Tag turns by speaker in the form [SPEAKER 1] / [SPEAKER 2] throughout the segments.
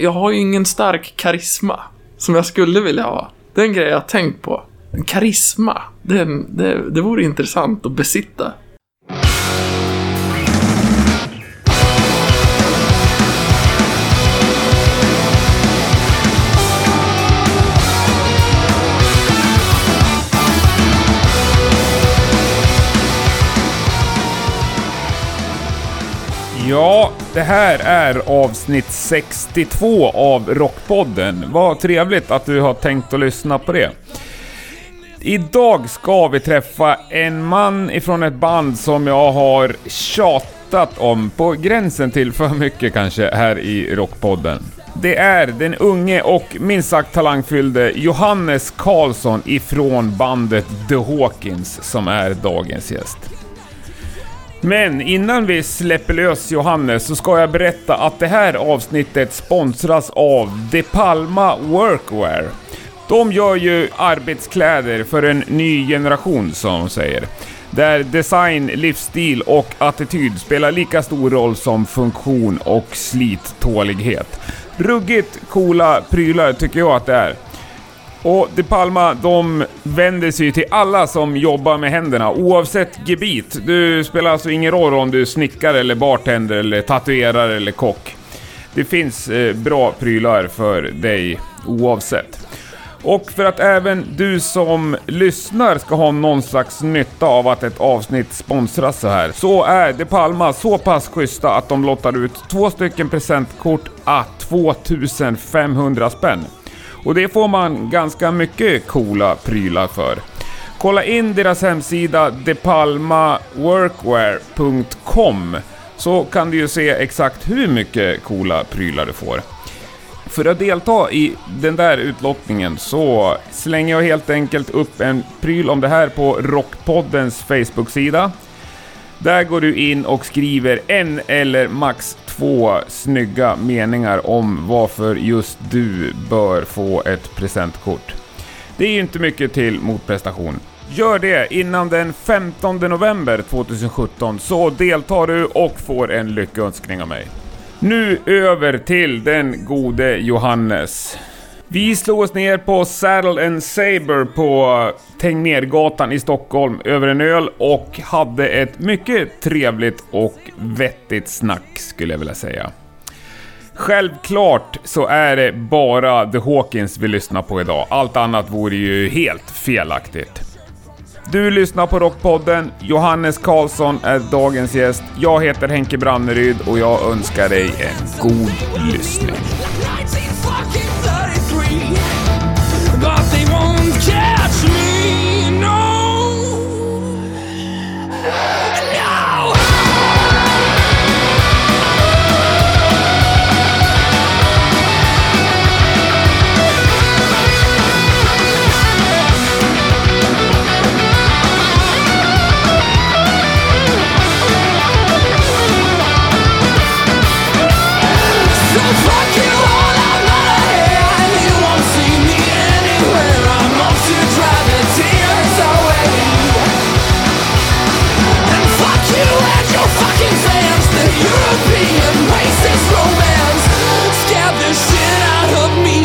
[SPEAKER 1] Jag har ju ingen stark karisma som jag skulle vilja ha. Det är en grej jag har tänkt på. Karisma, det, är en- det, det vore intressant att besitta.
[SPEAKER 2] Ja, det här är avsnitt 62 av Rockpodden. Vad trevligt att du har tänkt att lyssna på det. Idag ska vi träffa en man ifrån ett band som jag har tjatat om på gränsen till för mycket kanske här i Rockpodden. Det är den unge och minst sagt talangfyllde Johannes Karlsson ifrån bandet The Hawkins som är dagens gäst. Men innan vi släpper lös Johannes så ska jag berätta att det här avsnittet sponsras av De Palma Workwear. De gör ju arbetskläder för en ny generation som de säger. Där design, livsstil och attityd spelar lika stor roll som funktion och slittålighet. Ruggigt coola prylar tycker jag att det är. Och De Palma, de vänder sig ju till alla som jobbar med händerna, oavsett gebit. Du spelar alltså ingen roll om du är snickare eller bartender eller tatuerare eller kock. Det finns eh, bra prylar för dig oavsett. Och för att även du som lyssnar ska ha någon slags nytta av att ett avsnitt sponsras så här, så är De Palma så pass schyssta att de lottar ut två stycken presentkort à 2500 spänn. Och det får man ganska mycket coola prylar för. Kolla in deras hemsida depalmaworkwear.com så kan du ju se exakt hur mycket coola prylar du får. För att delta i den där utlottningen så slänger jag helt enkelt upp en pryl om det här på Rockpoddens Facebook-sida. Där går du in och skriver en eller max två snygga meningar om varför just du bör få ett presentkort. Det är ju inte mycket till motprestation. Gör det innan den 15 november 2017 så deltar du och får en lyckönskning av mig. Nu över till den gode Johannes. Vi slog oss ner på Saddle and Saber på Tegnérgatan i Stockholm över en öl och hade ett mycket trevligt och vettigt snack skulle jag vilja säga. Självklart så är det bara The Hawkins vi lyssnar på idag. Allt annat vore ju helt felaktigt. Du lyssnar på Rockpodden. Johannes Karlsson är dagens gäst. Jag heter Henke Branneryd och jag önskar dig en god lyssning.
[SPEAKER 3] 1933, but they won't catch me, no. No! So fuck you all, I'm outta here And you won't see me anywhere I'm off to dry the tears away And fuck you and your fucking fans The European racist romance Scared the shit out of me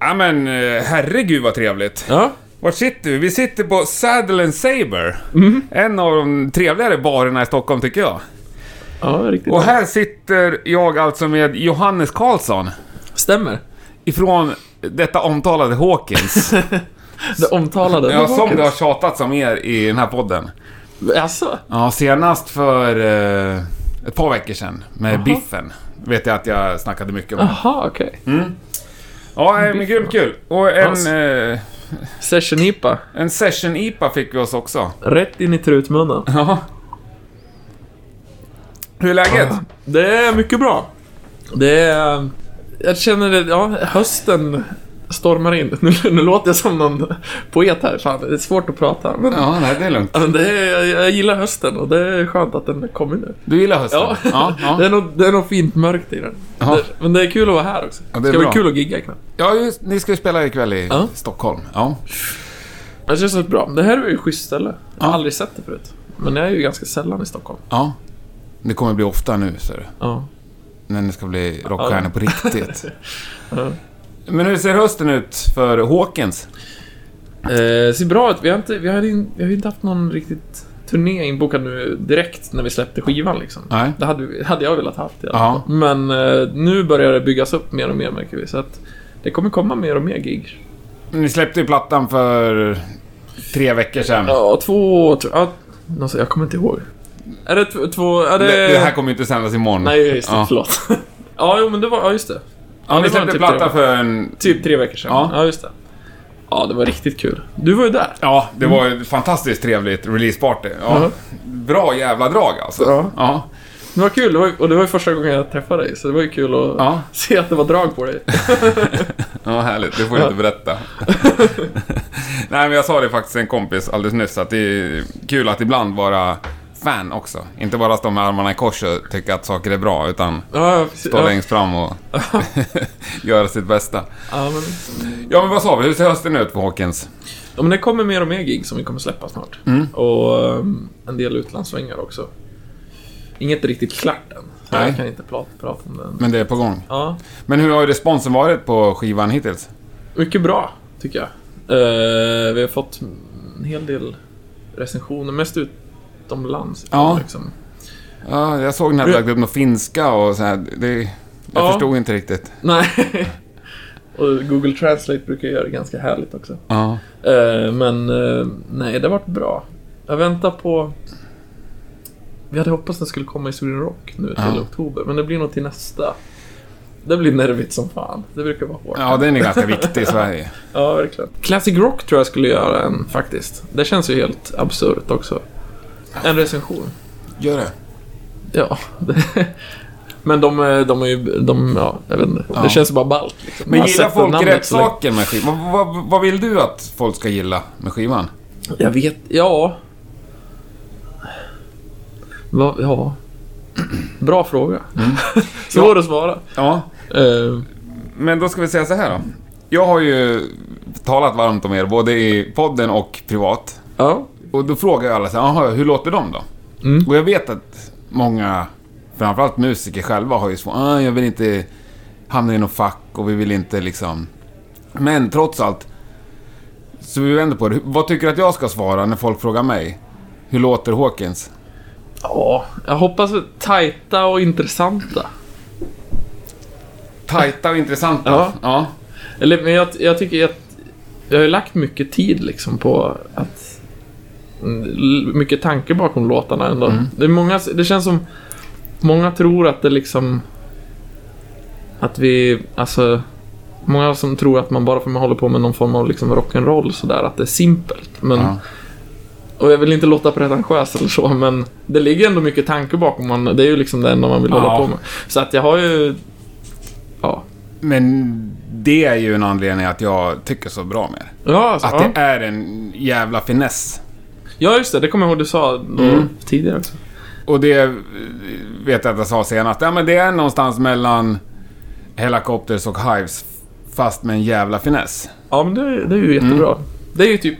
[SPEAKER 2] Ja men eh, herregud vad trevligt.
[SPEAKER 1] Ja,
[SPEAKER 2] Var sitter vi? Vi sitter på Saddle and Saber. En av de trevligare barerna i Stockholm tycker jag.
[SPEAKER 1] ja riktigt.
[SPEAKER 2] Och här sitter jag alltså med Johannes Karlsson.
[SPEAKER 1] Stämmer.
[SPEAKER 2] Ifrån detta omtalade Hawkins.
[SPEAKER 1] Det omtalade.
[SPEAKER 2] ja, som det har tjatats om er i den här podden.
[SPEAKER 1] Alltså,
[SPEAKER 2] Ja, senast för eh, ett par veckor sedan med Biffen. Vet jag att jag snackade mycket om.
[SPEAKER 1] jaha okej.
[SPEAKER 2] Ja, eh, men grymt kul. Och en,
[SPEAKER 1] Alltså.
[SPEAKER 2] eh,
[SPEAKER 1] Session-IPA.
[SPEAKER 2] en session-IPA fick vi oss också.
[SPEAKER 1] Rätt in i trutmunnen.
[SPEAKER 2] Ja. Hur är läget?
[SPEAKER 1] Det är mycket bra. Det är... Jag känner det, ja, hösten stormar in. Nu, nu låter jag som någon poet här. Fan, det är svårt att prata. Men,
[SPEAKER 2] Ja, nej, det är lugnt.
[SPEAKER 1] men Alltså, det är, jag, jag gillar hösten och det är skönt att den kommer nu.
[SPEAKER 2] Du gillar hösten?
[SPEAKER 1] Ja,
[SPEAKER 2] ja,
[SPEAKER 1] Det,
[SPEAKER 2] ja.
[SPEAKER 1] är nog, det är nog fint mörkt i den.
[SPEAKER 2] Ja.
[SPEAKER 1] Det, men det är kul att vara här också.
[SPEAKER 2] Ja, det
[SPEAKER 1] det
[SPEAKER 2] är
[SPEAKER 1] ska bli
[SPEAKER 2] bra.
[SPEAKER 1] kul att gigga ikväll.
[SPEAKER 2] ja just, ni ska ju spela ikväll i
[SPEAKER 1] Ja.
[SPEAKER 2] Stockholm. Ja.
[SPEAKER 1] Det känns rätt bra. Det här är ju ett schysst ställe. Jag har aldrig sett det förut. Men jag är ju ganska sällan i Stockholm.
[SPEAKER 2] Ja. Det kommer bli ofta nu, ser du.
[SPEAKER 1] Ja.
[SPEAKER 2] När ni ska bli rockstjärnor på riktigt. Men hur ser hösten ut för Hawkins?
[SPEAKER 1] Eh, ser bra ut. Vi har, inte, vi, har in, vi har ju inte haft någon riktigt turné inbokad nu direkt när vi släppte skivan liksom.
[SPEAKER 2] Nej.
[SPEAKER 1] Det hade, vi- hade jag velat haft i alla
[SPEAKER 2] Ja.
[SPEAKER 1] fall. Men eh, nu börjar det byggas upp mer och mer märker vi. Så att det kommer komma mer och mer gig.
[SPEAKER 2] Ni släppte ju plattan för tre veckor sedan.
[SPEAKER 1] Ja, två... Tror, ja, någonstans- jag kommer inte ihåg. Är det två... två är det...
[SPEAKER 2] Det, det här kommer ju inte sändas imorgon.
[SPEAKER 1] Eh. Nej, just det.
[SPEAKER 2] Ja.
[SPEAKER 1] Förlåt. ja, jo, men det var... Ja, just det.
[SPEAKER 2] Ja, ni
[SPEAKER 1] det var
[SPEAKER 2] släppte
[SPEAKER 1] typ
[SPEAKER 2] platta
[SPEAKER 1] tre-
[SPEAKER 2] för en...
[SPEAKER 1] Typ tre veckor sedan.
[SPEAKER 2] Ja.
[SPEAKER 1] Ja, just det. Ja, det var riktigt kul. Du var ju där.
[SPEAKER 2] Ja, det
[SPEAKER 1] Mm.
[SPEAKER 2] var ett fantastiskt trevligt releaseparty. Ja.
[SPEAKER 1] Mhm.
[SPEAKER 2] Bra jävla drag alltså.
[SPEAKER 1] Ja.
[SPEAKER 2] Ja.
[SPEAKER 1] Det var kul, det var, ju- och det var ju första gången jag träffade dig, så det var ju kul att
[SPEAKER 2] Ja.
[SPEAKER 1] se att det var drag på dig.
[SPEAKER 2] Ja, härligt. Det får jag inte berätta. Nej, men jag sa det faktiskt till en kompis alldeles nyss, att det är kul att ibland vara fan också. Inte bara stå med armarna i kors och tycka att saker är bra, utan
[SPEAKER 1] Ja, ja, precis.
[SPEAKER 2] stå
[SPEAKER 1] ja.
[SPEAKER 2] längst fram och göra sitt bästa.
[SPEAKER 1] Ja, men,
[SPEAKER 2] Ja, men vad sa vi? Hur ser hösten ut på Hawkins?
[SPEAKER 1] ja, men det kommer mer och mer gig som vi kommer släppa snart.
[SPEAKER 2] Mm.
[SPEAKER 1] Och ehm, en del utlandssvängar också. Inget riktigt klart än. Så
[SPEAKER 2] Nej.
[SPEAKER 1] Jag kan inte prata, prata om det än.
[SPEAKER 2] Men det är på gång.
[SPEAKER 1] Ja,
[SPEAKER 2] Men hur har responsen varit på skivan hittills?
[SPEAKER 1] mycket bra, tycker jag. Eh, vi har fått en hel del recensioner, mest utomlands.
[SPEAKER 2] Ja.
[SPEAKER 1] Liksom.
[SPEAKER 2] Ja, jag såg när du lagt upp något finska och så här. Det, jag
[SPEAKER 1] Ja.
[SPEAKER 2] förstod inte riktigt.
[SPEAKER 1] Nej. och Google Translate brukar göra det ganska härligt också.
[SPEAKER 2] Ja.
[SPEAKER 1] Eh, men eh, nej, det har varit bra. Jag väntar på... Vi hade hoppats den skulle komma i Sweden Rock nu till
[SPEAKER 2] Ja.
[SPEAKER 1] oktober, men det blir nog till nästa. Det blir nervigt som fan. Det brukar vara hårt.
[SPEAKER 2] ja, den är ganska viktig i Sverige.
[SPEAKER 1] Ja, verkligen. Classic Rock tror jag skulle göra en faktiskt. Det känns ju helt absurt också. En recension.
[SPEAKER 2] Gör det.
[SPEAKER 1] Ja. det- Men de, är- de är ju... De, ja, jag vet inte. Det känns bara ballt. Liksom. Jag
[SPEAKER 2] Men
[SPEAKER 1] har
[SPEAKER 2] gillar
[SPEAKER 1] sett det
[SPEAKER 2] folk
[SPEAKER 1] namnet liksom.
[SPEAKER 2] rätt
[SPEAKER 1] så länge.
[SPEAKER 2] saker med skivan? Vad, vad, vad vill du att folk ska gilla med skivan?
[SPEAKER 1] Jag vet, ja. Va, ja. Bra fråga. Svår att svara.
[SPEAKER 2] Ja,
[SPEAKER 1] Eh,
[SPEAKER 2] men då ska vi säga så här då. Jag har ju talat varmt om er, både i podden och privat.
[SPEAKER 1] ja.
[SPEAKER 2] Och då frågar jag alla så här, "Jaha, hur låter de då? Och jag vet att många, framförallt musiker själva, har ju svårt. Ah, jag vill inte hamna i något fack och vi vill inte liksom... Men trots allt, så vi vänder på det. Vad tycker du att jag ska svara när folk frågar mig? Hur låter Hawkins?
[SPEAKER 1] ja. Jag hoppas att tajta och intressanta.
[SPEAKER 2] Tajta och intressanta.
[SPEAKER 1] Ja.
[SPEAKER 2] ja.
[SPEAKER 1] Eller, men jag, jag tycker att jag har ju lagt mycket tid liksom på att... mm, l- Mycket tanke bakom låtarna ändå.
[SPEAKER 2] Mm.
[SPEAKER 1] Det, är många, det känns som... Många tror att det liksom... Att vi, alltså... Många som tror att man bara för att man håller på med någon form av liksom rock'n'roll sådär, att det är simpelt. Men,
[SPEAKER 2] Ja.
[SPEAKER 1] Och jag vill inte låta pretentiös eller så, men det ligger ändå mycket tanke bakom. Man, det är ju liksom det enda man vill
[SPEAKER 2] Ja.
[SPEAKER 1] hålla på med. Så att jag har ju... Ja.
[SPEAKER 2] Men det är ju en anledning att jag tycker så bra med det.
[SPEAKER 1] ja, alltså,
[SPEAKER 2] Att
[SPEAKER 1] ja.
[SPEAKER 2] det är en jävla finess.
[SPEAKER 1] Ja, just det. Det kommer jag ihåg du sa då tidigare också.
[SPEAKER 2] Och det eh, vet jag att jag sa senast. Ja, men det är någonstans mellan Helicopters och Hives. Fast med en jävla finess.
[SPEAKER 1] Ja, men det, det är ju jättebra. Det är ju typ...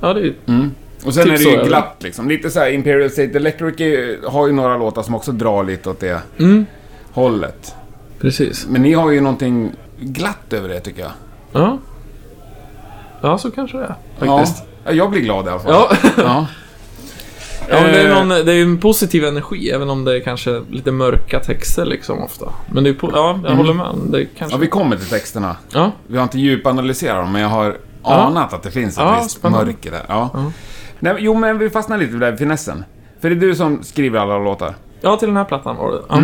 [SPEAKER 1] Ja, det är ju...
[SPEAKER 2] Och sen
[SPEAKER 1] Typ
[SPEAKER 2] är det
[SPEAKER 1] så,
[SPEAKER 2] ju
[SPEAKER 1] eller?
[SPEAKER 2] glatt liksom. Lite så här Imperial State Electric är- har ju några låtar som också drar lite åt det
[SPEAKER 1] Mm.
[SPEAKER 2] hållet.
[SPEAKER 1] Precis.
[SPEAKER 2] Men ni har ju någonting glatt över det tycker jag.
[SPEAKER 1] Ja. Ja, så kanske det är. Faktiskt.
[SPEAKER 2] Ja, jag blir glad i alla fall.
[SPEAKER 1] Ja.
[SPEAKER 2] Ja.
[SPEAKER 1] ja men det, är
[SPEAKER 2] Eh.
[SPEAKER 1] någon, det är ju en positiv energi, även om det är kanske lite mörka texter liksom ofta. Men det är po- Ja, jag håller med. Det
[SPEAKER 2] ja,
[SPEAKER 1] kanske...
[SPEAKER 2] vi kommer till texterna.
[SPEAKER 1] Ja.
[SPEAKER 2] Vi har inte djupanalyserat dem, men jag har anat att det finns ett
[SPEAKER 1] Ja,
[SPEAKER 2] visst
[SPEAKER 1] spännande.
[SPEAKER 2] mörker där. Ja. Nej, men- jo, men vi fastnar lite vid den här finessen. För det är du som skriver alla låtar.
[SPEAKER 1] ja, till den här plattan var det. Ja.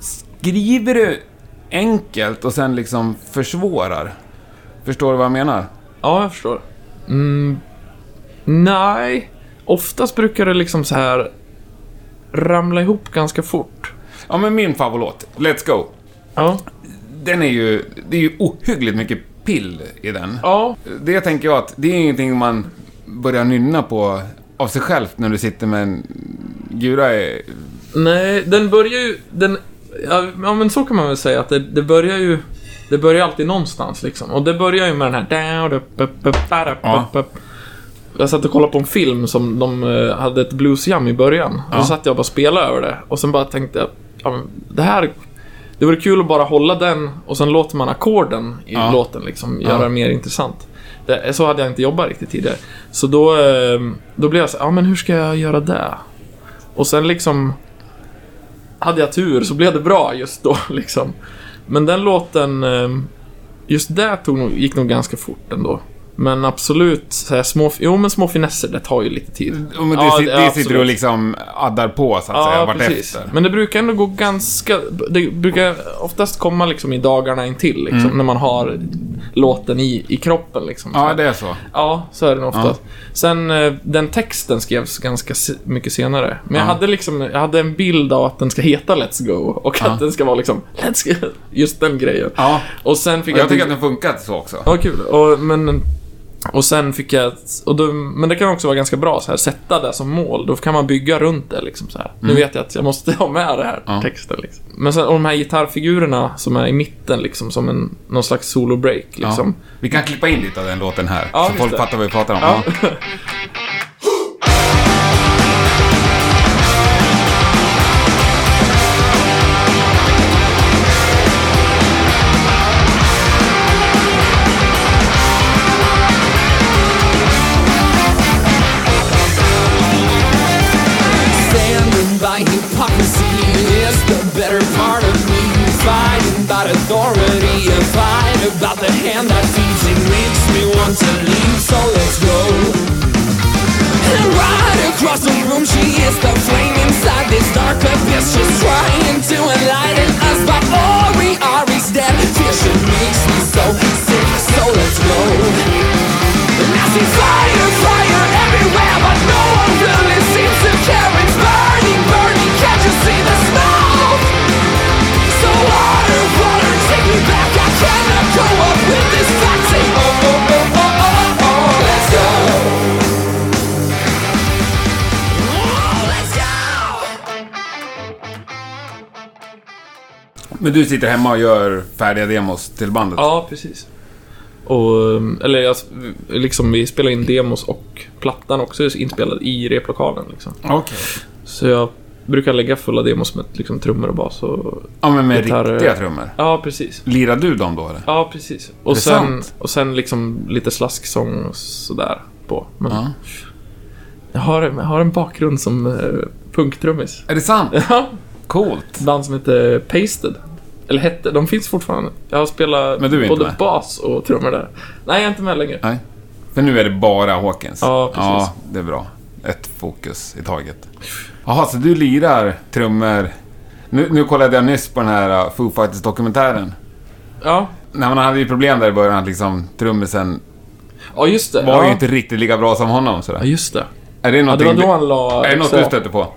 [SPEAKER 2] Skriver du enkelt och sen liksom försvårar? Förstår du vad jag menar?
[SPEAKER 1] Ja, jag förstår. Mm. Nej. Oftast brukar det liksom så här ramla ihop ganska fort.
[SPEAKER 2] Ja, men min favoritlåt, Let's Go,
[SPEAKER 1] Ja.
[SPEAKER 2] den är ju... Det är ju ohyggligt mycket pill i den.
[SPEAKER 1] Ja,
[SPEAKER 2] Det tänker jag att det är ingenting man börjar nynna på av sig själv när du sitter med en gura i...
[SPEAKER 1] Nej, den börjar ju... Den, ja, ja, men så kan man väl säga att det, det börjar ju... det börjar alltid någonstans liksom. Och det börjar ju med den här... down, up, up, up, där,
[SPEAKER 2] Ja.
[SPEAKER 1] up, up, up. Jag satt och kollade på en film som de eh, hade ett bluesjam i början. Och
[SPEAKER 2] Ja.
[SPEAKER 1] så satt jag och bara spelade över det. Och sen bara tänkte jag... Ja, men det här... Det vore kul att bara hålla den och sen låter man ackorden i
[SPEAKER 2] Ja.
[SPEAKER 1] låten liksom göra det mer intressant. Det, så hade jag inte jobbat riktigt tidigare. Så då, eh, då blev jag så här, ja men hur ska jag göra det? Och sen liksom hade jag tur så blev det bra just då liksom. Men den låten, eh, just där tog, nog- gick nog ganska fort ändå. Men absolut, så här, små, jo men små finesser, det tar ju lite tid.
[SPEAKER 2] Ja, men det,
[SPEAKER 1] Ja,
[SPEAKER 2] sit-
[SPEAKER 1] det-
[SPEAKER 2] det sitter
[SPEAKER 1] absolut.
[SPEAKER 2] du och liksom addar på så att säga vartefter.
[SPEAKER 1] Men det brukar ändå gå ganska... Det brukar oftast komma liksom i dagarna intill, liksom, när man har låten i, i kroppen. Liksom,
[SPEAKER 2] Mm. Ja, det är så.
[SPEAKER 1] ja, så är det nog oftast. Sen, eh, den texten skrevs ganska se- mycket senare. Men jag, hade liksom, jag hade en bild av att den ska heta Let's Go och att den ska vara liksom Let's Go, just den grejen.
[SPEAKER 2] Ja.
[SPEAKER 1] Och sen fick
[SPEAKER 2] Jag tycker att
[SPEAKER 1] bygga-
[SPEAKER 2] den funkat så också.
[SPEAKER 1] Ja, kul. Och, men, och sen fick jag... Och då, men det kan också vara ganska bra så här, sätta det som mål. Då kan man bygga runt det liksom så här.
[SPEAKER 2] Mm.
[SPEAKER 1] Nu vet jag att jag måste ha med det här texten liksom. Men sen, och de här gitarrfigurerna som är i mitten liksom, som en, någon slags solo-break
[SPEAKER 2] Ja.
[SPEAKER 1] liksom.
[SPEAKER 2] Vi kan klippa in lite av den låten här,
[SPEAKER 1] Ja,
[SPEAKER 2] så
[SPEAKER 1] just
[SPEAKER 2] folk
[SPEAKER 1] det.
[SPEAKER 2] fattar vad vi pratar om.
[SPEAKER 1] Ja.
[SPEAKER 2] Ja.
[SPEAKER 3] Standing by hypocrisy is the better part of me. Fighting about authority, a fight about the hand that feeds and makes me want to leave. So let's go. And right across the room, she is the flame inside this dark abyss. She's trying to enlighten us, but Ori Ari's dead. Fear she makes me so sick. So let's go. And I see fire, fire everywhere, but no one really seems to care. It's burning, burning. Can't you see the smoke? So water, water, take me back. I cannot go up with this fact. Say, oh, oh, oh, oh, oh, oh, let's go. Oh, let's go.
[SPEAKER 2] Men du sitter hemma och gör färdiga demos till bandet?
[SPEAKER 1] Ja, precis. Och, um, eller jag, liksom, vi spelar in demos och plattan också är inspelad i replokalen. Liksom.
[SPEAKER 2] Okej.
[SPEAKER 1] Så jag brukar lägga fulla demos med liksom, trummor och bas. Och...
[SPEAKER 2] Ja, men med
[SPEAKER 1] Gitarr-
[SPEAKER 2] riktiga trummor.
[SPEAKER 1] Ja, precis.
[SPEAKER 2] Lirar du dem då eller?
[SPEAKER 1] Ja, precis. Och sen,
[SPEAKER 2] Intressant.
[SPEAKER 1] och sen liksom lite slasksång och sådär på. Men jag, har, jag har en bakgrund som uh, punktrummis.
[SPEAKER 2] Är det sant? Coolt.
[SPEAKER 1] Ett band som heter Pasted. Eller hette, de finns fortfarande. Jag har spelat
[SPEAKER 2] Men du är inte
[SPEAKER 1] både
[SPEAKER 2] med?
[SPEAKER 1] bas och trummor där. Nej, jag är inte med längre.
[SPEAKER 2] Nej. För nu är det bara Hawkins?
[SPEAKER 1] Ja, precis.
[SPEAKER 2] Ja, det är bra. Ett fokus i taget. Jaha, så du lirar trummor? Nu, nu kollade jag nyss på den här uh, Foo Fighters-dokumentären.
[SPEAKER 1] Ja,
[SPEAKER 2] Nej, men han hade ju problem där i början att liksom trummisen
[SPEAKER 1] ja just det.
[SPEAKER 2] var
[SPEAKER 1] ja.
[SPEAKER 2] ju inte riktigt lika bra som honom sådär.
[SPEAKER 1] Ja, just det.
[SPEAKER 2] Är det
[SPEAKER 1] Ja, det
[SPEAKER 2] någonting
[SPEAKER 1] var då
[SPEAKER 2] du-
[SPEAKER 1] han la...
[SPEAKER 2] Är det något
[SPEAKER 1] så-
[SPEAKER 2] du stöter på?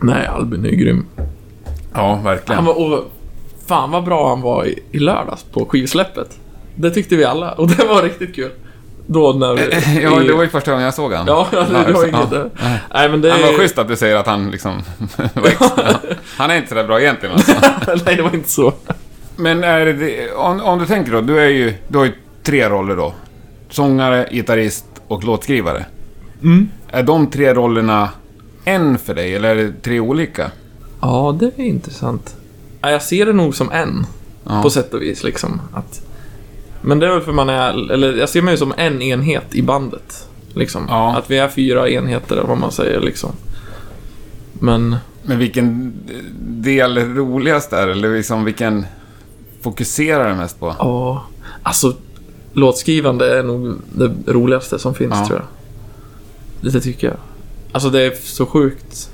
[SPEAKER 1] Nej, Albin är ju grym.
[SPEAKER 2] Ja, verkligen.
[SPEAKER 1] Han var, och, fan vad bra han var i, i lördags på skivsläppet. Det tyckte vi alla och det var riktigt kul. Då när vi...
[SPEAKER 2] Ja,
[SPEAKER 1] i-
[SPEAKER 2] det var ju första gången jag såg han.
[SPEAKER 1] Ja, ja, det, det var
[SPEAKER 2] Ja.
[SPEAKER 1] inget... där. Eh. Nej, men det...
[SPEAKER 2] Han var schysst att du säger att han liksom... var extra. han är inte så där bra egentligen alltså.
[SPEAKER 1] Nej, det var inte så.
[SPEAKER 2] Men är det, om, om du tänker då, du, är ju, du har ju tre roller då. Sångare, gitarrist och låtskrivare.
[SPEAKER 1] Mm.
[SPEAKER 2] Är de tre rollerna en för dig, eller är det tre olika?
[SPEAKER 1] Ja, det är intressant. Ja, jag ser det nog som en.
[SPEAKER 2] Ja.
[SPEAKER 1] På sätt och vis liksom. Att, men det är väl för man är... Eller jag ser mig som en enhet i bandet. Liksom.
[SPEAKER 2] Ja.
[SPEAKER 1] Att vi är fyra enheter eller vad man säger liksom. Men...
[SPEAKER 2] Men vilken del är roligast är, eller liksom vilken fokuserar du mest på?
[SPEAKER 1] Ja, alltså låtskrivande är nog det roligaste som finns
[SPEAKER 2] Ja.
[SPEAKER 1] tror jag. Det, det tycker jag. Alltså det är så sjukt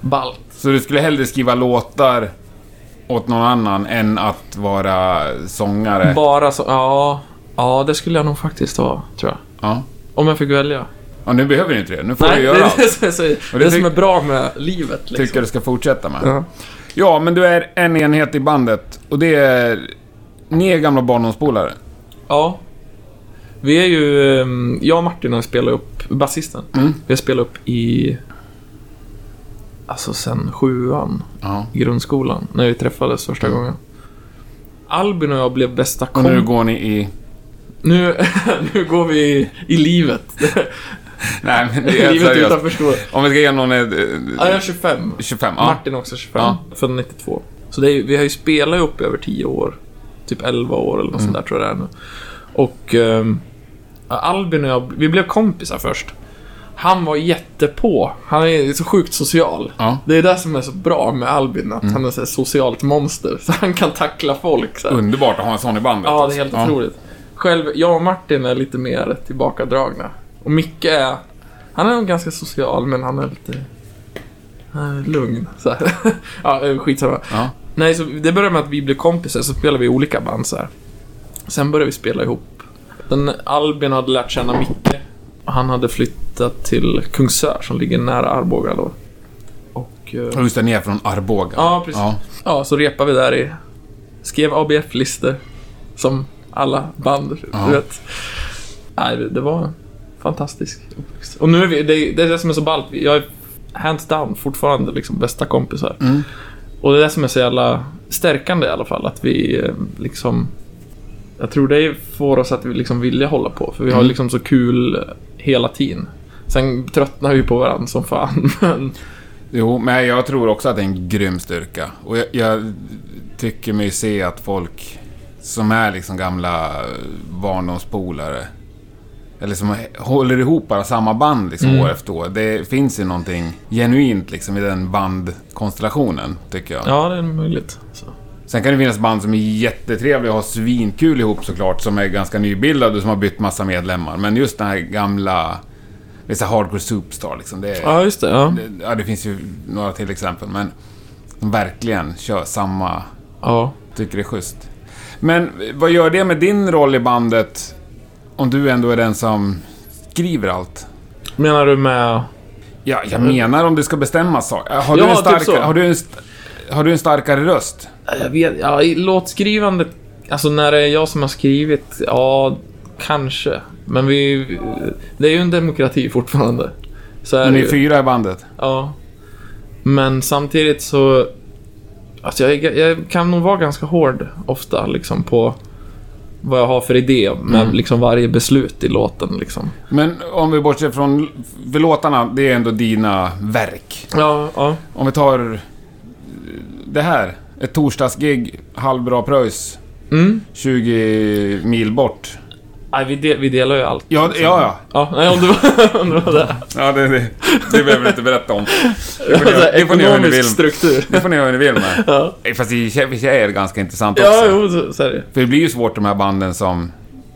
[SPEAKER 1] ballt.
[SPEAKER 2] Så du skulle hellre skriva låtar åt någon annan än att vara sångare?
[SPEAKER 1] Bara så, ja, ja det skulle jag nog faktiskt vara tror jag.
[SPEAKER 2] Ja.
[SPEAKER 1] Om jag fick välja.
[SPEAKER 2] ja, nu behöver du inte det. Nu får du
[SPEAKER 1] Nej, det
[SPEAKER 2] göra
[SPEAKER 1] är
[SPEAKER 2] allt.
[SPEAKER 1] det, som är så- det,
[SPEAKER 2] det
[SPEAKER 1] som
[SPEAKER 2] tyck-
[SPEAKER 1] är bra med livet liksom.
[SPEAKER 2] tycker du ska fortsätta med.
[SPEAKER 1] Ja.
[SPEAKER 2] Ja, men du är en enhet i bandet och det är... Ni är gamla barndomspolare.
[SPEAKER 1] Ja. Vi är ju, ehm, jag och Martin har spelat upp, basisten,
[SPEAKER 2] Mm.
[SPEAKER 1] vi har spelat upp i, alltså sen sjuan.
[SPEAKER 2] Ja.
[SPEAKER 1] i grundskolan när vi träffades första gången. Albin och jag blev bästa
[SPEAKER 2] Mm. Och nu
[SPEAKER 1] kompis.
[SPEAKER 2] går ni i...
[SPEAKER 1] Nu, nu går vi i, i livet.
[SPEAKER 2] Nej, men det är
[SPEAKER 1] livet
[SPEAKER 2] seriöst.
[SPEAKER 1] utanför skolan.
[SPEAKER 2] Om vi ska ge någon... eh,
[SPEAKER 1] Ja, jag är 25.
[SPEAKER 2] 25, ja.
[SPEAKER 1] Martin är också 25.
[SPEAKER 2] Ja.
[SPEAKER 1] Född 92. Så det är, vi har ju spelat upp över 10 år. Typ 11 år eller något sånt
[SPEAKER 2] Mm.
[SPEAKER 1] där tror jag det är nu. Och ehm, Albin och jag, vi blev kompisar först. Han var jättepå. Han är så sjukt social.
[SPEAKER 2] Ja. Mm.
[SPEAKER 1] Det är det som är så bra med Albin, att han är så här socialt monster. Så han kan tackla folk. Så här.
[SPEAKER 2] Underbart att ha en sån i bandet.
[SPEAKER 1] Ja, det är
[SPEAKER 2] alltså.
[SPEAKER 1] helt otroligt. Själv, jag och Martin är lite mer tillbakadragna. Och Micke är... Han är nog ganska social, men han är lite... Han är lugn. Så här. ja, eh, skitsamma.
[SPEAKER 2] Ja.
[SPEAKER 1] Nej, så det började med att vi blev kompisar, så spelade vi i olika band så här. Sen började vi spela ihop. Den Albin hade lärt känna Micke. Och han hade flyttat till Kungsör, som ligger nära Arboga då. Och... eh,
[SPEAKER 2] Ja, Just det, ni är från Arboga.
[SPEAKER 1] Ja, precis.
[SPEAKER 2] Ja.
[SPEAKER 1] Ja. så repade vi där i... Skrev ABF-listor. Som alla band, du vet. Nej, det var en fantastisk uppväxt. Och nu är vi... Det är det, är det som är så ballt. Jag är hands down fortfarande liksom bästa kompisar. Och det är det som är så jävla stärkande i alla fall. Att vi eh, liksom... Jag tror det får oss att vi liksom vilja hålla på. För vi har liksom så kul hela tiden. Sen tröttnar vi på varandra som fan. Men
[SPEAKER 2] Jo, men jag tror också att det är en grym styrka. Och jag, jag tycker mig se att folk som är liksom gamla eh, barndomspolare, eller som håller ihop bara samma band liksom
[SPEAKER 1] Mm.
[SPEAKER 2] år efter år. Det finns ju någonting genuint liksom i den bandkonstellationen, tycker jag.
[SPEAKER 1] ja, det är möjligt. Så.
[SPEAKER 2] Sen kan det finnas band som är jättetrevliga och har svinkul ihop såklart, som är ganska nybildade och som har bytt massa medlemmar. Men just den här gamla, det är så här hardcore superstar liksom. Det är,
[SPEAKER 1] Ja, just det. Ja.
[SPEAKER 2] Ja, det finns ju några till exempel, men de verkligen kör samma,
[SPEAKER 1] ja.
[SPEAKER 2] tycker det är schysst. Men vad gör det med din roll i bandet, om du ändå är den som skriver allt?
[SPEAKER 1] Menar du med...
[SPEAKER 2] Ja, jag menar om du ska bestämma saker. Har,
[SPEAKER 1] Ja,
[SPEAKER 2] du en
[SPEAKER 1] typ
[SPEAKER 2] starkare-
[SPEAKER 1] så.
[SPEAKER 2] har, du en st- har du en starkare röst?
[SPEAKER 1] Jag vet ja, i låtskrivandet... Alltså när det är jag som har skrivit, ja, kanske. Men vi... Det är ju en demokrati fortfarande. Så är det
[SPEAKER 2] Ni
[SPEAKER 1] ju.
[SPEAKER 2] är fyra i bandet.
[SPEAKER 1] Ja. Men samtidigt så... Alltså jag, är- jag kan nog vara ganska hård ofta liksom på vad jag har för idé med
[SPEAKER 2] Mm.
[SPEAKER 1] liksom varje beslut i låten. Liksom.
[SPEAKER 2] Men om vi bortser från för låtarna, det är ändå dina verk.
[SPEAKER 1] Ja, ja.
[SPEAKER 2] Om vi tar eh, det här. Ett torsdagsgig, halvbra pröjs. Mm. 20 mil bort. Alltså.
[SPEAKER 1] Nej, vi, del, vi delar ju allt.
[SPEAKER 2] Ja, d- ja, ja.
[SPEAKER 1] Ja, nej, om du var, om du var där.
[SPEAKER 2] ja det, det, det behöver du inte berätta om. Det får ni,
[SPEAKER 1] Alltså,
[SPEAKER 2] göra- det får ni göra hur ni vill.
[SPEAKER 1] ekonomisk struktur.
[SPEAKER 2] Det får ni göra hur ni vill med.
[SPEAKER 1] Ja.
[SPEAKER 2] Eh, Fast i och för sig är det ganska intressant också.
[SPEAKER 1] Ja, jo, så, så är det
[SPEAKER 2] För det blir ju svårt de här banden som...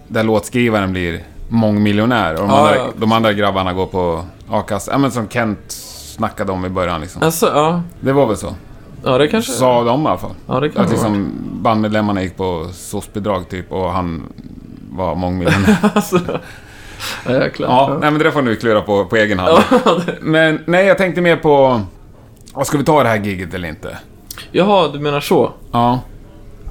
[SPEAKER 2] Där låtskrivaren blir mångmiljonär och de,
[SPEAKER 1] Ja,
[SPEAKER 2] andra,
[SPEAKER 1] ja.
[SPEAKER 2] de andra grabbarna går på a-kassa. Ja, men som Kent snackade om i början liksom.
[SPEAKER 1] Alltså, ja.
[SPEAKER 2] Det var väl så.
[SPEAKER 1] Ja, det kanske...
[SPEAKER 2] Sa de i alla fall.
[SPEAKER 1] Ja, det kan
[SPEAKER 2] Att
[SPEAKER 1] det vara.
[SPEAKER 2] liksom bandmedlemmarna gick på SOS-bidrag typ och han var mångmiljonär.
[SPEAKER 1] Alltså. Ja, jäklar.
[SPEAKER 2] ja, nej men det där får ni klura på på egen hand. men nej, jag tänkte mer på... ja, Ska vi ta det här giget eller inte?
[SPEAKER 1] Jaha, du menar så?
[SPEAKER 2] Ja.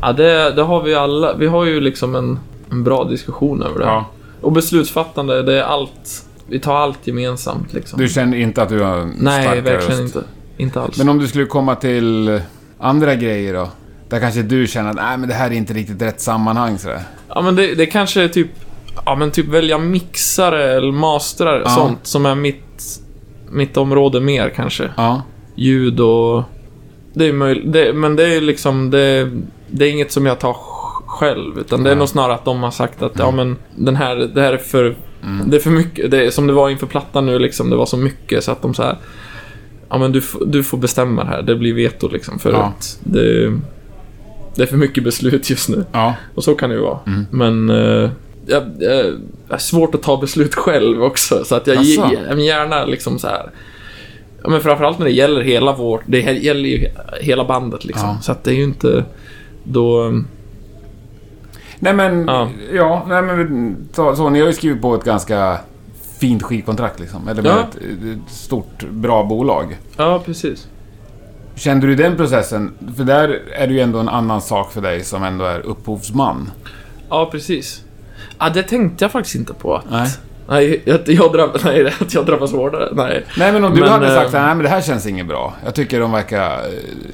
[SPEAKER 1] Ja, det, det har vi alla. Vi har ju liksom en, en bra diskussion över det.
[SPEAKER 2] Ja.
[SPEAKER 1] Och beslutsfattande, det är allt. Vi tar allt gemensamt liksom.
[SPEAKER 2] Du känner inte att du har en
[SPEAKER 1] Nej,
[SPEAKER 2] starkare
[SPEAKER 1] verkligen
[SPEAKER 2] röst?
[SPEAKER 1] inte. Inte alls.
[SPEAKER 2] Men om du skulle komma till andra grejer då? Där kanske du känner att nej, men det här är inte riktigt rätt sammanhang sådär.
[SPEAKER 1] Ja, men det, det kanske är typ... Ja, men typ välja mixare eller mastrare. Sånt som är mitt, mitt område mer kanske.
[SPEAKER 2] Ja.
[SPEAKER 1] ljud och... Det är möjligt, det, men det är liksom, det, det är inget som jag tar sj- själv. Utan det är nog snarare att de har sagt att, ja men den här, det här är för... Det är för mycket, det är, som det var inför plattan nu liksom, det var så mycket så att de så här... Ja men du, f- du får bestämma det här, det blir veto liksom för
[SPEAKER 2] Ja.
[SPEAKER 1] att det, det är för mycket beslut just nu.
[SPEAKER 2] Ja.
[SPEAKER 1] Och så kan det ju vara.
[SPEAKER 2] Mm.
[SPEAKER 1] Men... eh, jag, jag, jag är svårt att ta beslut själv också. Så att jag,
[SPEAKER 2] Asså?
[SPEAKER 1] jag, jag gärna liksom så här... Ja, men framförallt när det gäller hela vårt... Det he- gäller ju he- hela bandet liksom. Så att det är ju inte... Då...
[SPEAKER 2] Nej men, ja,
[SPEAKER 1] Ja.
[SPEAKER 2] nej, men så, så, ni har ju skrivit på ett ganska fint skivkontrakt liksom. Eller med
[SPEAKER 1] Ja.
[SPEAKER 2] ett, ett stort, bra bolag.
[SPEAKER 1] Ja, precis.
[SPEAKER 2] Kände du den processen? För där är det ju ändå en annan sak för dig som ändå är upphovsman.
[SPEAKER 1] Ja, precis. Ja, det tänkte jag faktiskt inte på. Att,
[SPEAKER 2] Nej.
[SPEAKER 1] Nej, att jag, drabb, nej, att jag drabbas hårdare. Nej.
[SPEAKER 2] Nej men om du
[SPEAKER 1] Men,
[SPEAKER 2] hade sagt
[SPEAKER 1] eh,
[SPEAKER 2] så här, nej men det här känns inget bra. Jag tycker de verkar eh,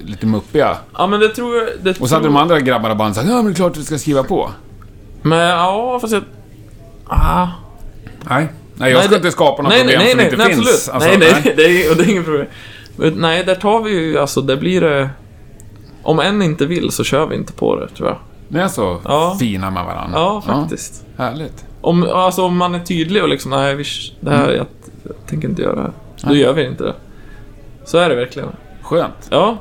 [SPEAKER 2] lite muppiga.
[SPEAKER 1] Ja, men det tror jag... Det
[SPEAKER 2] Och så hade
[SPEAKER 1] tror-
[SPEAKER 2] de andra grabbarna bara sagt, ja men det är klart du ska skriva på.
[SPEAKER 1] Men ja, fast jag... Ah.
[SPEAKER 2] Nej. Nej, jag ska inte skapa något
[SPEAKER 1] nej,
[SPEAKER 2] problem
[SPEAKER 1] nej,
[SPEAKER 2] som
[SPEAKER 1] nej,
[SPEAKER 2] inte
[SPEAKER 1] nej,
[SPEAKER 2] finns.
[SPEAKER 1] Absolut.
[SPEAKER 2] Alltså,
[SPEAKER 1] nej, nej, nej. Det är, och det är inget problem. Men, nej, där tar vi ju, alltså, där blir det... Om en inte vill så kör vi inte på det, tror jag.
[SPEAKER 2] Ni är så
[SPEAKER 1] Ja.
[SPEAKER 2] fina med varandra.
[SPEAKER 1] Ja, faktiskt.
[SPEAKER 2] Härligt.
[SPEAKER 1] Om, alltså, om man är tydlig och liksom, nej, vi, det
[SPEAKER 2] Mm.
[SPEAKER 1] här, jag, jag tänker inte göra det här. Då gör vi inte det. Så är det verkligen.
[SPEAKER 2] Skönt.
[SPEAKER 1] Ja.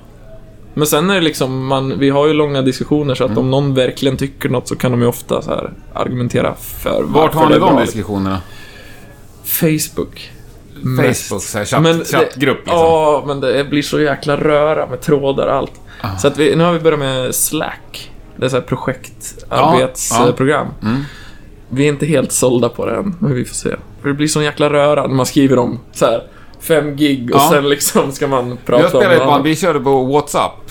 [SPEAKER 1] Men sen är det liksom, man, vi har ju långa diskussioner så att
[SPEAKER 2] Mm.
[SPEAKER 1] om någon verkligen tycker något så kan de ju ofta så här argumentera för
[SPEAKER 2] Vart
[SPEAKER 1] varför
[SPEAKER 2] har
[SPEAKER 1] det
[SPEAKER 2] ni
[SPEAKER 1] är bra,
[SPEAKER 2] de
[SPEAKER 1] liksom.
[SPEAKER 2] diskussionerna?
[SPEAKER 1] Facebook.
[SPEAKER 2] Facebook, så här, chatt- chattgrupp, liksom.
[SPEAKER 1] Ja, men det blir så jäkla röra med trådar och allt.
[SPEAKER 2] Ah.
[SPEAKER 1] Så att vi, nu har vi börjat med Slack. Det är så här
[SPEAKER 2] Ja, Mm. ja.
[SPEAKER 1] projektarbetsprogram. Vi är inte helt sålda på det än, men vi får se. För det blir sån jäkla röra när man skriver om så här fem gig och
[SPEAKER 2] Ja.
[SPEAKER 1] sen liksom ska man prata
[SPEAKER 2] Jag spelar
[SPEAKER 1] om något
[SPEAKER 2] i ett band,
[SPEAKER 1] annat.
[SPEAKER 2] vi körde på WhatsApp.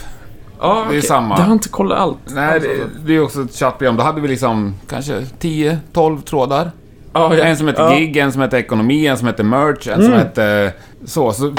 [SPEAKER 1] Ja,
[SPEAKER 2] Det är
[SPEAKER 1] okej.
[SPEAKER 2] samma.
[SPEAKER 1] Det har inte kollat allt.
[SPEAKER 2] Nej,
[SPEAKER 1] Alltså,
[SPEAKER 2] det, det är också ett chattprogram. Då hade vi liksom kanske 10-12 trådar.
[SPEAKER 1] ja, ja.
[SPEAKER 2] En som hette
[SPEAKER 1] ja. Mm.
[SPEAKER 2] gig, en som hette ekonomi, en som hette merch, en som hette så. Så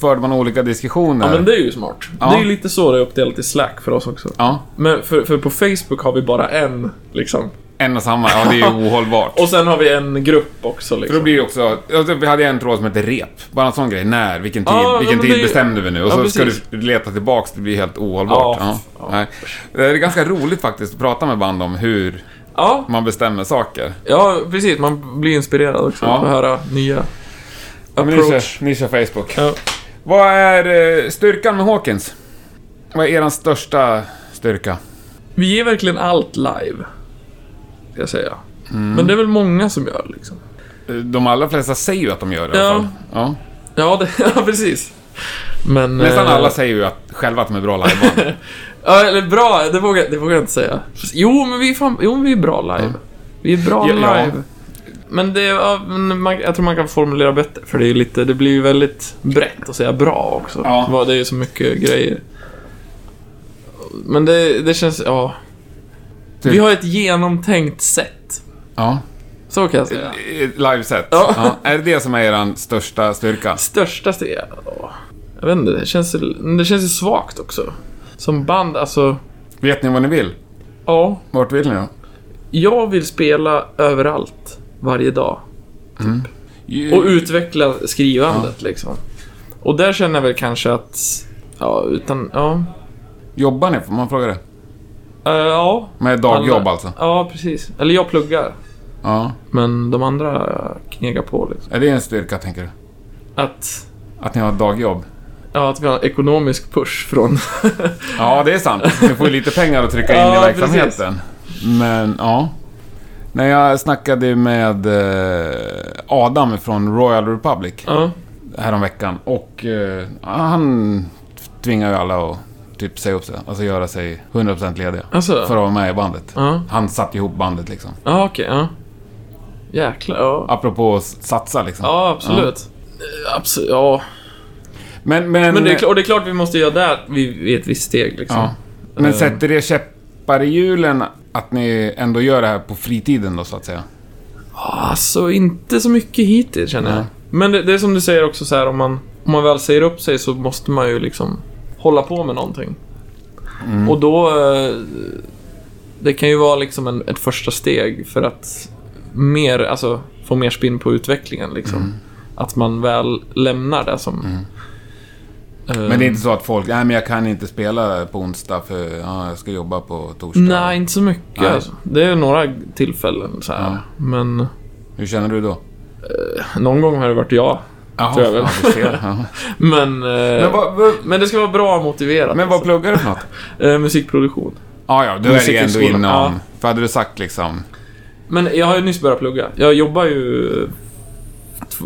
[SPEAKER 2] förde man olika diskussioner.
[SPEAKER 1] Ja, men det är ju smart.
[SPEAKER 2] Ja.
[SPEAKER 1] Det är ju lite så det är uppdelat i Slack för oss också.
[SPEAKER 2] Ja,
[SPEAKER 1] Men för, för på Facebook har vi bara en, liksom.
[SPEAKER 2] en och samma. Ja, det är ju ohållbart.
[SPEAKER 1] Och sen har vi en grupp också,
[SPEAKER 2] För då
[SPEAKER 1] liksom.
[SPEAKER 2] blir det också, alltså, vi hade en tråd som hette rep. Bara en sån grej. När, vilken tid,
[SPEAKER 1] Ja,
[SPEAKER 2] vilken
[SPEAKER 1] men
[SPEAKER 2] tid
[SPEAKER 1] det-
[SPEAKER 2] bestämde vi nu? Och
[SPEAKER 1] Ja,
[SPEAKER 2] så
[SPEAKER 1] precis.
[SPEAKER 2] ska du leta tillbaks, det blir helt ohållbart.
[SPEAKER 1] Ja,
[SPEAKER 2] Ja, Nej. Det är ganska roligt faktiskt att prata med band om hur
[SPEAKER 1] Ja,
[SPEAKER 2] man bestämmer saker.
[SPEAKER 1] ja, precis. Man blir inspirerad också.
[SPEAKER 2] Ja.
[SPEAKER 1] Att höra nya
[SPEAKER 2] Ja, men ni,
[SPEAKER 1] approach.
[SPEAKER 2] kör, ni kör Facebook.
[SPEAKER 1] Ja.
[SPEAKER 2] Vad är eh, styrkan med Hawkins? Vad är er största styrka?
[SPEAKER 1] Vi ger verkligen allt live. Ska jag säga.
[SPEAKER 2] Mm.
[SPEAKER 1] Men det är väl många som gör, liksom.
[SPEAKER 2] De allra flesta säger ju att de gör det i
[SPEAKER 1] Ja.
[SPEAKER 2] alla fall. Ja.
[SPEAKER 1] Ja, det, ja precis. Men...
[SPEAKER 2] Nästan
[SPEAKER 1] eh,
[SPEAKER 2] alla säger ju att, själva att de är bra liveband.
[SPEAKER 1] Ja, eller bra, det vågar, det vågar jag inte säga. Jo, men vi är, fan, jo, men vi är bra live. Vi är bra
[SPEAKER 2] Ja, ja.
[SPEAKER 1] live. Men det, är- ja, men man, jag tror man kan formulera bättre, för det, är ju lite, det blir ju väldigt brett att säga bra också.
[SPEAKER 2] Ja.
[SPEAKER 1] Vad- Det är ju så mycket grejer. Men det, det känns, ja.
[SPEAKER 2] Typ.
[SPEAKER 1] Vi har ett genomtänkt sätt.
[SPEAKER 2] ja.
[SPEAKER 1] Så kan jag säga.
[SPEAKER 2] I- Liveset.
[SPEAKER 1] Ja.
[SPEAKER 2] Ja. Är det det som är er största styrka?
[SPEAKER 1] Största steg? ja. Jag vet inte, det känns, det känns ju svagt också. Som band, alltså,
[SPEAKER 2] Vet ni vad ni vill?
[SPEAKER 1] ja.
[SPEAKER 2] Vart vill ni då?
[SPEAKER 1] Jag vill spela överallt, varje dag.
[SPEAKER 2] Ju-
[SPEAKER 1] Och utveckla skrivandet liksom. Och där känner jag väl kanske att... Ja, utan... Ja.
[SPEAKER 2] Jobbar ni? Får man fråga det?
[SPEAKER 1] Eh, ja.
[SPEAKER 2] Med dagjobb
[SPEAKER 1] Alla-
[SPEAKER 2] alltså?
[SPEAKER 1] Ja, precis. Eller jag pluggar.
[SPEAKER 2] Ja.
[SPEAKER 1] Men de andra knegar på liksom.
[SPEAKER 2] Är det en styrka, tänker du?
[SPEAKER 1] Att...
[SPEAKER 2] Att ni har dagjobb?
[SPEAKER 1] Ja, att vi har en ekonomisk push från...
[SPEAKER 2] Ja, det är sant. Ni får ju lite pengar att trycka in
[SPEAKER 1] Ja,
[SPEAKER 2] i verksamheten. Men, ja. När jag snackade med eh, Adam från Royal Republic
[SPEAKER 1] ja.
[SPEAKER 2] häromveckan och eh, han tvingar ju alla att typ säga upp sig. Alltså göra sig 100% lediga.
[SPEAKER 1] Alltså?
[SPEAKER 2] För att vara med i bandet.
[SPEAKER 1] Ja.
[SPEAKER 2] Han satte ihop bandet liksom.
[SPEAKER 1] Ja, okej. ja. Jäklar. Ja.
[SPEAKER 2] Apropå att satsa liksom.
[SPEAKER 1] Ja, absolut. Eh, Absolut, ja.
[SPEAKER 2] Men, men,
[SPEAKER 1] Men det är, klart- och det är klart vi måste göra där vid, vid ett visst steg liksom.
[SPEAKER 2] Ja. Men sätter det käppar i hjulen att ni ändå gör det här på fritiden då så att säga?
[SPEAKER 1] Alltså, inte så mycket hittills känner jag. Men det, det är som du säger också så här, om man, om man väl säger upp sig så måste man ju liksom hålla på med någonting.
[SPEAKER 2] Mm.
[SPEAKER 1] Och då... eh, Det kan ju vara liksom en, ett första steg för att mer, alltså, få mer spinn på utvecklingen. Liksom.
[SPEAKER 2] Mm.
[SPEAKER 1] Att man väl lämnar det som... eh,
[SPEAKER 2] Mm. Men det är inte så att folk, nej men jag kan inte spela på onsdag för ja, jag ska jobba på torsdag.
[SPEAKER 1] Nej, inte så mycket.
[SPEAKER 2] Nej.
[SPEAKER 1] Alltså. Det är några tillfällen så här. Men
[SPEAKER 2] Hur känner du då?
[SPEAKER 1] någon gång har det varit jag.
[SPEAKER 2] Jaha,
[SPEAKER 1] Tror jag väl.
[SPEAKER 2] ja, du ser. Ja.
[SPEAKER 1] Men, eh,
[SPEAKER 2] Men, vad, vad,
[SPEAKER 1] Men det ska vara bra motiverat. alltså.
[SPEAKER 2] men vad pluggar du för något?
[SPEAKER 1] Eh, musikproduktion.
[SPEAKER 2] Ja, ja, du är det ändå
[SPEAKER 1] Musikhögskolan,
[SPEAKER 2] inom...
[SPEAKER 1] ja.
[SPEAKER 2] För hade du sagt liksom...
[SPEAKER 1] Men jag har ju nyss börjat plugga. Jag jobbar ju...